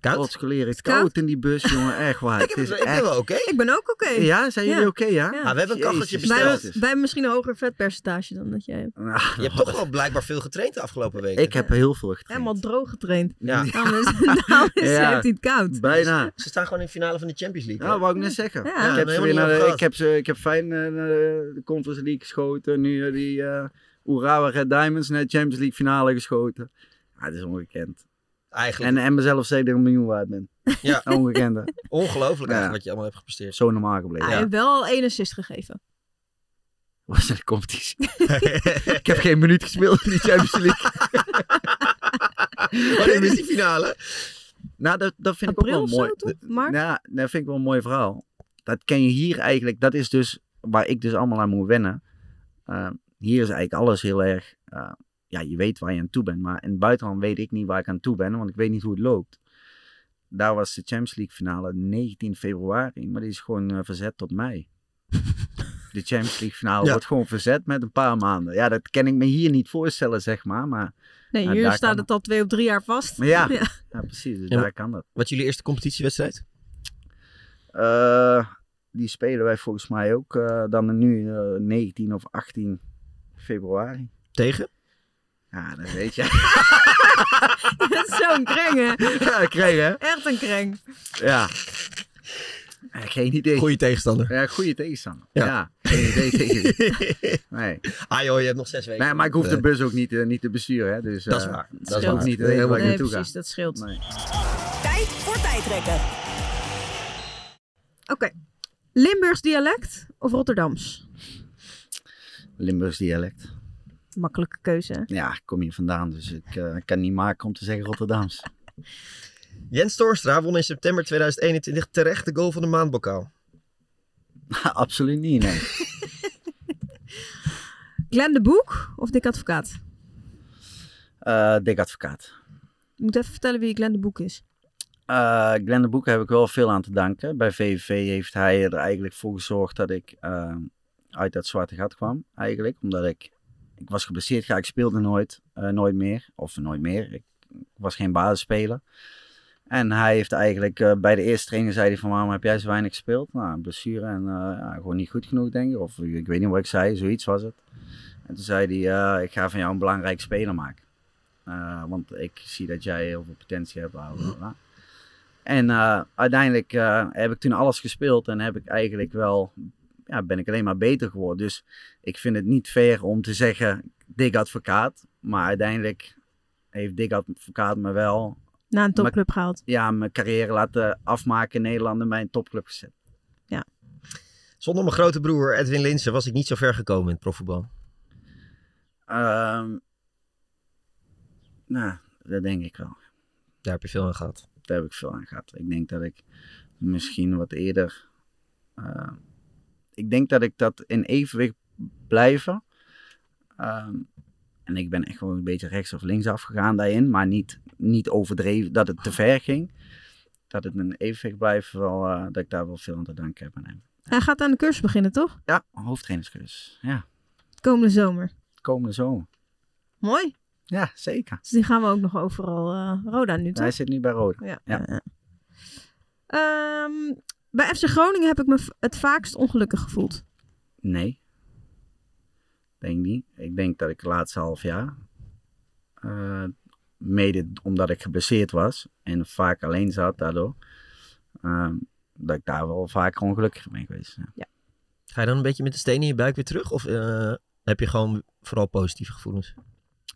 Koud?
Godskeleer, het
koud?
koud in die bus, jongen. Echt
<laughs>
waar.
Ik, heb,
het is
ik ben
echt...
wel oké.
Ik ben ook oké.
Ja, zijn jullie oké, ja?
Ah, we hebben een kacheltje
Jezus.
Wij,
besteld. dus.
hebben- wij hebben misschien een hoger vetpercentage dan dat jij hebt.
Je hebt toch wel blijkbaar veel getraind de afgelopen weken.
Ah, Ik heb heel veel getraind.
Helemaal droog getraind. <laughs>
Ja.
Daarom is, daarom is
Ja.
heeft hij het koud.
Bijna.
Ze staan gewoon in de finale van de Champions League.
Nou,
hè?
wou ik net zeggen.
Ja.
Ik, heb ze
Helemaal
weer
niet
naar de,
over
ik, heb ze, ik heb fijn eh, naar de de Conference League geschoten. Nu eh, die eh Urawa Red Diamonds naar de Champions League finale geschoten. Ja, het is ongekend.
Eigenlijk.
En, en mezelf steeds een miljoen waard ben. <laughs>
Ja.
Ongekend. hè?
Ongelooflijk
Ja.
eigenlijk wat je allemaal hebt gepresteerd.
Zo normaal gebleven.
Ah, Hij heeft wel één assist gegeven.
Was er de competitie? ik heb geen minuut gespeeld in die Champions League.
<laughs> Wanneer is die finale?
Nou, dat, dat vind
April
ik ook
of
wel mooi.
zo, toch? Maart?
Ja, dat vind ik wel een mooi verhaal. Dat ken je hier eigenlijk, dat is dus waar ik dus allemaal aan moet wennen. Eh, hier is eigenlijk alles heel erg, eh, ja, je weet waar je aan toe bent. Maar in het buitenland weet ik niet waar ik aan toe ben, want ik weet niet hoe het loopt. Daar was de Champions League finale 19 februari, maar die is gewoon eh, verzet tot
<laughs>
mei. De Champions League finale
Ja.
wordt gewoon verzet met een paar maanden. Ja, dat kan ik me hier niet voorstellen, zeg maar. maar
Nee,
ja,
hier
daar
staat
kan
het al twee op drie jaar vast.
Maar
<laughs>
ja, ja. precies. Dus
Ja,
daar
maar-
kan dat.
Wat jullie eerste competitiewedstrijd?
Eh, die spelen wij volgens mij ook eh, dan nu eh, 19 of 18 februari.
Tegen?
Ja, dat weet je. <laughs>
Zo'n kreng, hè?
ja, kreeg hè?
Echt een kreng.
Ja. Eh, Geen idee.
Goeie tegenstander.
Ja, goede tegenstander. Ja.
Ja.
geen idee tegen. wie.
<laughs>
Nee.
Ah joh, je hebt nog zes weken.
nee, maar ik hoef de
Eh,
bus ook niet, eh, niet te besturen. Hè, dus,
Dat is
eh,
waar.
Dat,
Dat is
is ook
waar.
niet de reden waar ik
Nee,
naartoe
precies,
ga.
dat scheelt.
Nee.
Tijd voor tijdrekken.
Oké. Limburgs dialect of Rotterdams?
Limburgs dialect.
Makkelijke keuze, hè?
Ja, ik kom hier vandaan, dus ik eh, kan niet maken om te zeggen Rotterdams. <laughs>
Jens Torstra won in september 2021 terecht de goal van de maandbokaal.
Absoluut niet, nee.
Glenn de Boek of Dick Advocaat?
Eh dik advocaat.
Ik moet even vertellen wie Glenn de Boek is.
Eh Glenn de Boek heb ik wel veel aan te danken. Bij VVV heeft hij er eigenlijk voor gezorgd dat ik eh, uit dat zwarte gat kwam. Eigenlijk, omdat ik, ik was geblesseerd, ja, ik speelde nooit, eh, nooit meer. Of nooit meer, ik, ik was geen basisspeler. En hij heeft eigenlijk eh, bij de eerste training zei hij van waarom heb jij zo weinig gespeeld? Nou, een blessure en eh, ja, gewoon niet goed genoeg denk ik. Of eh, ik weet niet wat ik zei, zoiets was het. En toen zei hij, eh, ik ga van jou een belangrijk speler maken. Eh, want ik zie dat jij heel veel potentie hebt. Bla, bla, bla. En eh, uiteindelijk eh, heb ik toen alles gespeeld en heb ik eigenlijk wel, ja, ben ik alleen maar beter geworden. Dus ik vind het niet fair om te zeggen, dik advocaat. Maar uiteindelijk heeft dik advocaat me wel
Naar een topclub gehaald.
Ja, mijn carrière laten afmaken in Nederland en bij een topclub gezet.
Ja.
Zonder mijn grote broer Edwin Linsen was ik niet zo ver gekomen in het profvoetbal.
Ehm, nou, dat denk ik wel.
Daar heb je veel aan gehad.
Daar heb ik veel aan gehad. Ik denk dat ik misschien wat eerder. eh, ik denk dat ik dat in evenwicht blijven. Ehm, en ik ben echt gewoon een beetje rechts of links afgegaan daarin, maar niet, niet overdreven dat
<laughs>
het te ver ging. Dat het een evenwicht blijft, wel, eh, dat ik daar wel veel aan te danken heb aan hem.
Hij gaat aan de cursus beginnen, toch?
Ja, hoofdtrainerscursus. Ja,
Komende zomer.
komende zomer.
Mooi.
Ja, zeker.
Dus die gaan we ook nog overal. eh, Roda nu, toch?
Hij zit nu bij Rode.
Ja.
ja.
Ehm, bij FC Groningen heb ik me v- het vaakst ongelukkig gevoeld.
Nee. Denk niet. Ik denk dat ik het laatste half jaar, eh, mede omdat ik geblesseerd was en vaak alleen zat daardoor, ehm, dat ik daar wel vaak ongelukkig mee geweest. Ja.
Ga je dan een beetje met de steen in je buik weer terug? Of eh, heb je gewoon vooral positieve gevoelens?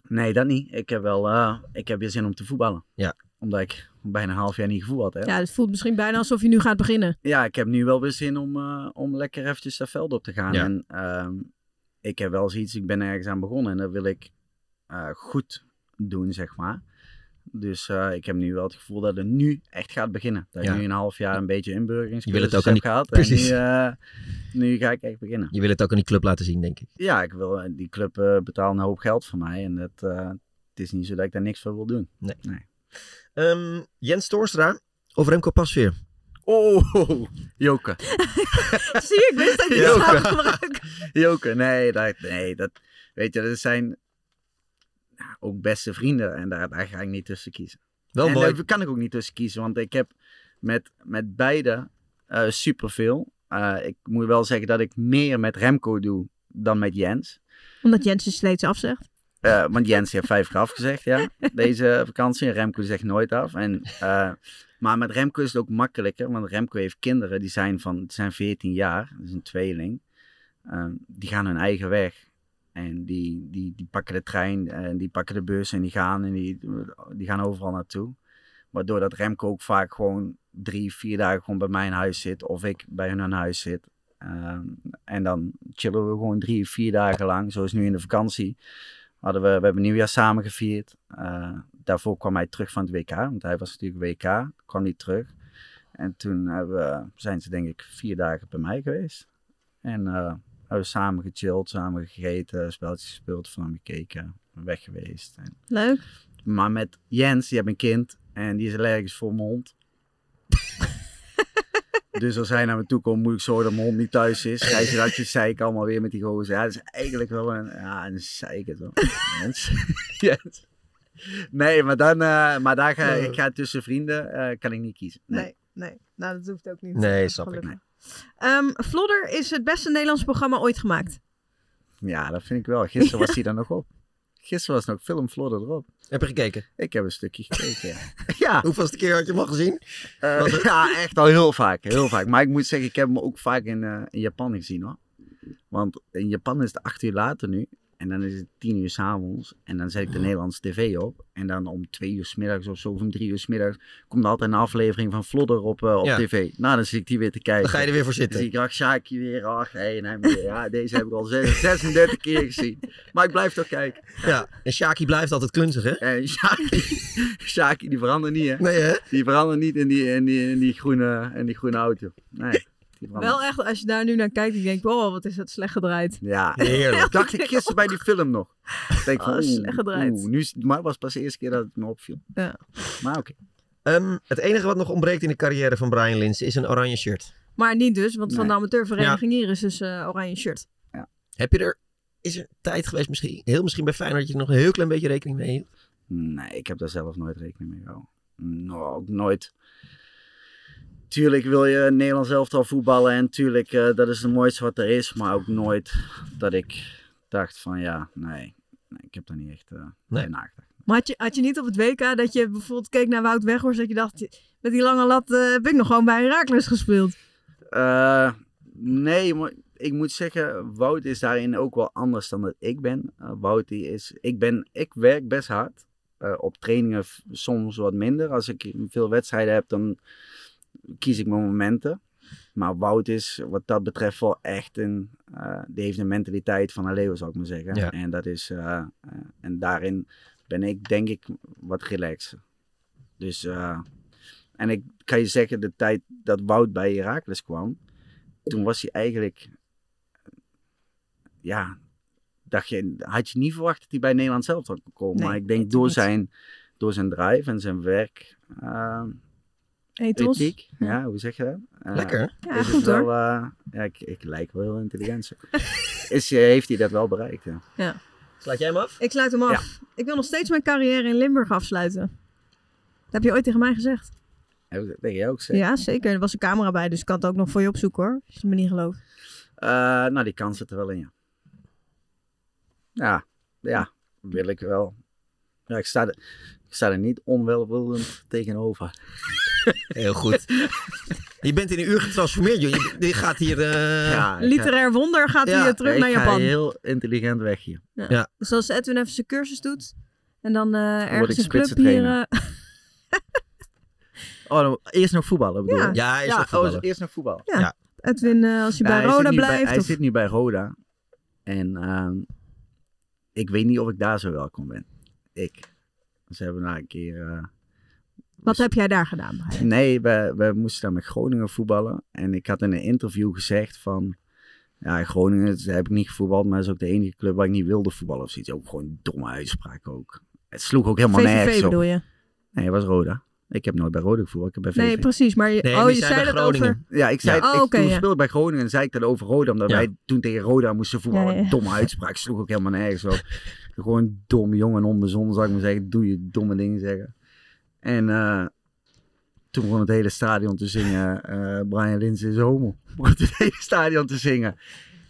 Nee, dat niet. Ik heb wel eh, ik heb weer zin om te voetballen.
Ja.
Omdat ik bijna een half jaar niet gevoetbald heb.
Ja, het voelt misschien bijna alsof je nu gaat beginnen.
Ja, ik heb nu wel weer zin om, eh, om lekker eventjes dat veld op te gaan.
Ja.
En ehm, ik heb wel zoiets, ik ben ergens aan begonnen en dat wil ik eh, goed doen, zeg maar. Dus eh, ik heb nu wel het gevoel dat het nu echt gaat beginnen. Dat
Ja.
ik nu een half jaar een beetje
Je wil het
inburgeringscursus
ook
heb
aan die- <laughs>
gehad.
Precies.
En nu, eh, nu ga ik echt beginnen.
Je wil het ook aan die club laten zien, denk ik.
Ja, ik wil, eh, die club eh, betaalt een hoop geld voor mij. En dat, eh, het is niet zo dat ik daar niks voor wil doen.
Nee.
nee.
Ehm, Jens Toorstra of Remco Pasveer?
Oh, Joke.
<laughs> Zie je, ik wist dat je het
Joke.
zou gebruiken.
Joker, nee, dat, nee, dat, weet je, dat zijn ja, ook beste vrienden en daar, daar ga ik niet tussen kiezen.
Wel
en
mooi.
Daar kan ik ook niet tussen kiezen, want ik heb met, met beide eh superveel. Eh, ik moet wel zeggen dat ik meer met Remco doe dan met Jens.
Omdat Jens je steeds afzegt.
Eh, want Jens heeft vijf keer afgezegd, ja, deze vakantie. En Remco zegt nooit af. En, eh, maar met Remco is het ook makkelijker, want Remco heeft kinderen die zijn, van, die zijn 14 jaar, dat is een tweeling. Ehm, die gaan hun eigen weg. En die, die, die pakken de trein en die pakken de bus en die gaan, en die, die gaan overal naartoe. Waardoor dat Remco ook vaak gewoon drie, vier dagen gewoon bij mijn huis zit of ik bij hun aan huis zit. Ehm, en dan chillen we gewoon drie, vier dagen lang. Zoals nu in de vakantie. Hadden we, we hebben nieuwjaar samen gevierd. Eh, daarvoor kwam hij terug van het WK. Want hij was natuurlijk WK. Kwam niet terug. En toen hebben we, zijn ze denk ik vier dagen bij mij geweest. En eh, hebben we samen gechilled, samen gegeten, spelletjes gespeeld, van hem gekeken. Weg geweest. En
Leuk.
maar met Jens, die heeft een kind en die is allergisch voor mijn <laughs> hond. dus als hij naar me toe komt, moet ik zorgen dat mijn hond niet thuis is. Grijsratjes zei ik allemaal weer met die gozer. Ja, dat is eigenlijk wel een, ja, een zeikert hoor. Jens. <laughs> Jens. Nee, maar, dan, eh, maar daar ga ik ga tussen vrienden, eh, kan ik niet kiezen. Nee.
Nee, nee. Nou, dat hoeft ook niet.
Nee, snap ik.
Gelukkig. Ehm, Vlodder is het beste Nederlands programma ooit gemaakt.
Ja, dat vind ik wel. Gisteren was hij daar nog op. Gisteren was nog film Flodder erop.
Heb je gekeken?
Ik heb een stukje
<laughs>
gekeken, ja. ja.
Hoeveelste keer had je hem al gezien?
Eh,
Was het-
ja, echt al heel vaak, heel vaak. Maar ik moet zeggen, ik heb hem ook vaak in, eh, in Japan gezien hoor. Want in Japan is het acht uur later nu. En dan is het tien uur s'avonds. En dan zet ik
Ah.
de Nederlandse tv op. En dan om twee uur 's middags of zo, of om drie uur 's middags komt er altijd een aflevering van Flodder op, eh, op
Ja.
tv. Nou, dan zit ik die weer te kijken.
Dan ga je er weer voor zitten.
Dan zie ik, ach, Sjaakje weer, ach, hé, en hem weer. Ja, deze heb ik al zes- <laughs> 36 keer gezien. Maar ik blijf toch kijken.
Ja, en Shaki blijft altijd klunzig, hè?
En <laughs> Sjaki, Sjaki, die verandert niet, hè?
Nee, hè?
Die verandert niet in die, in die, in die, groene, in die groene auto. Nee. die verandert
Wel echt, als je daar nu naar kijkt, ik denk, oh, wat is dat slecht gedraaid.
Ja,
Heerlijk.
Dacht ik gisteren bij die film nog. Ik Denk van,
Oh,
oeh,
slecht gedraaid.
oeh, nu is, maar het was pas de eerste keer dat het me opviel.
Ja.
Maar oké.
Ehm, het enige wat nog ontbreekt in de carrière van Brian Linsen is een oranje shirt.
Maar niet dus, want van de
Nee.
amateurvereniging hier is dus eh, oranje shirt.
Heb je er, is er tijd geweest misschien, heel misschien bij Feyenoord, dat je er nog een heel klein beetje rekening mee hield?
Nee, ik heb daar zelf nooit rekening mee gehouden. No, ook nooit. Tuurlijk wil je Nederlands elftal voetballen en tuurlijk eh, dat is het mooiste wat er is. Maar ook nooit dat ik dacht van ja, nee, nee, ik heb daar niet echt eh bij nagedacht.
Maar had je, had je niet op het WK dat je bijvoorbeeld keek naar Wout Weghorst, dat je dacht, met die lange lat eh, heb ik nog gewoon bij Herakles gespeeld.
Eh, nee, maar ik moet zeggen, Wout is daarin ook wel anders dan dat ik ben. Eh, Wout die is, ik ben, ik werk best hard. eh, op trainingen f- soms wat minder. Als ik veel wedstrijden heb, dan kies ik mijn momenten. Maar Wout is wat dat betreft wel echt een... eh, die heeft een mentaliteit van een leeuw, zou ik maar zeggen.
Ja.
En, dat is, eh, eh, en daarin ben ik denk ik wat relaxer. Dus... eh, en ik kan je zeggen, de tijd dat Wout bij Heracles kwam, toen was hij eigenlijk, ja, dacht je, had je niet verwacht dat hij bij Nederland zelf zou komen.
Nee,
maar ik denk door zijn, door zijn drive en zijn werk, eh,
Ethos.
ethiek, ja, hoe zeg je dat? Eh,
Lekker.
Ja,
is het
goed hoor.
wel, eh, ja, ik, ik lijk wel heel intelligent.
<laughs>
zo. is, eh, heeft hij dat wel bereikt? Ja.
Ja.
Slaat jij hem
eh,
af?
Ik sluit hem af. Ik wil nog steeds mijn carrière in Limburg afsluiten. Dat heb je ooit tegen mij gezegd.
Heb ik dat tegen jou ook gezegd?
Ja, zeker. Er was een camera bij, dus ik kan het ook nog voor je opzoeken hoor. Als je het me niet gelooft.
Eh, nou, die kans zit er wel in, ja. Ja, ja, wil ik wel. Ja, ik sta er, ik sta er niet onwelwillend tegenover.
Heel
<laughs>
goed. Je bent in een uur getransformeerd, joh. Je, je gaat hier... eh,
Ja, ik ga-
Literair wonder gaat
Ja,
hier terug
ik
naar
ga
Japan.
heel intelligent weg hier.
Ja.
Ja.
Dus als Edwin even zijn cursus doet en dan eh,
word ik
ergens een club hier...
spitsentrainer.
eh, <laughs>
Oh, dan- eerst nog voetballen bedoel
Ja.
je?
Ja, eerst nog
oh,
voetballen.
eerst nog voetbal.
ja. Edwin, eh, als je
Ja,
bij
Nou, hij zit
Roda
nu
blijft...
hij
of-
zit nu bij Roda. En ehm, ik weet niet of ik daar zo welkom ben. Ik. Ze hebben na een keer... eh,
Wat heb jij daar gedaan? Brian?
Nee, we, we moesten dan met Groningen voetballen. En ik had in een interview gezegd van... Ja, Groningen daar heb ik niet gevoetbald, maar dat is ook de enige club waar ik niet wilde voetballen of zoiets. Ook gewoon een domme uitspraak ook. Het sloeg ook helemaal nergens
VVV
op.
bedoel je?
Nee, het was Roda. Ik heb nooit bij Roda gevoetbald, ik heb bij VVV.
Nee, precies. Maar je, oh, je zei dat over...
Ja, ik zei,
Ja.
ik
Oh, oké,
toen
ja.
speelde bij Groningen en zei ik dat over Roda, omdat
Ja.
wij toen tegen Roda moesten voetballen.
Ja, ja.
Domme uitspraak, sloeg ook helemaal nergens op. Gewoon dom jong en onbezonnen, zou ik maar zeggen. Doe je domme dingen zeggen. En eh, toen begon het hele stadion te zingen, eh, Brian Lins is homo. <laughs> Begon het hele stadion te zingen.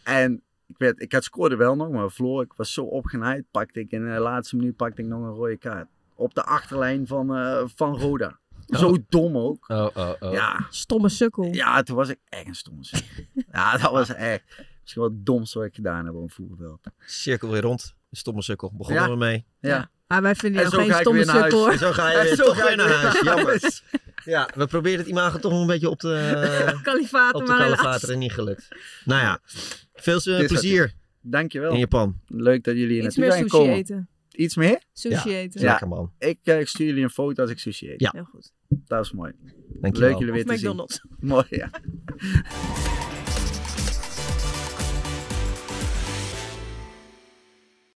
En ik, werd, ik had scoorde wel nog, maar Floor, ik was zo opgenaaid, pakte ik in de laatste minuut pakte ik nog een rode kaart. Op de achterlijn van, eh, van Roda. Zo dom ook.
Oh, oh, oh.
Ja,
Stomme sukkel.
ja, toen was ik echt een stomme <laughs> sukkel. ja, dat was echt misschien wel het domste wat ik gedaan heb op een voetbalveld.
Cirkel weer rond. Stomme sukkel. Begonnen
Ja.
we mee.
Ja.
Maar Ah, wij vinden
En
jou
zo
geen
ga ik
stomme
weer naar huis.
sukkel hoor.
En zo ga je
En
weer
zo
toch
ga
weer
ik
naar
weer <laughs>
huis.
naar
Jammer.
huis.
Ja, we proberen het imago toch nog een beetje op
eh,
de,
<laughs> Kalifaten,
op de
maar helaas.
kalifater en niet gelukt. Nou ja, veel eh,
Dit is wat
plezier
Dankjewel.
in Japan.
Leuk dat jullie er
Iets
naartoe zijn
meer sushi
komen.
eten.
Iets meer?
Sushi
Ja.
eten.
Ja.
Lekker man.
Ik, eh, ik stuur jullie een foto als ik sushi eet.
Ja.
Heel goed.
Dat is mooi.
Dankjewel.
Leuk jullie
Of
weer te zien.
McDonald's.
Mooi, ja.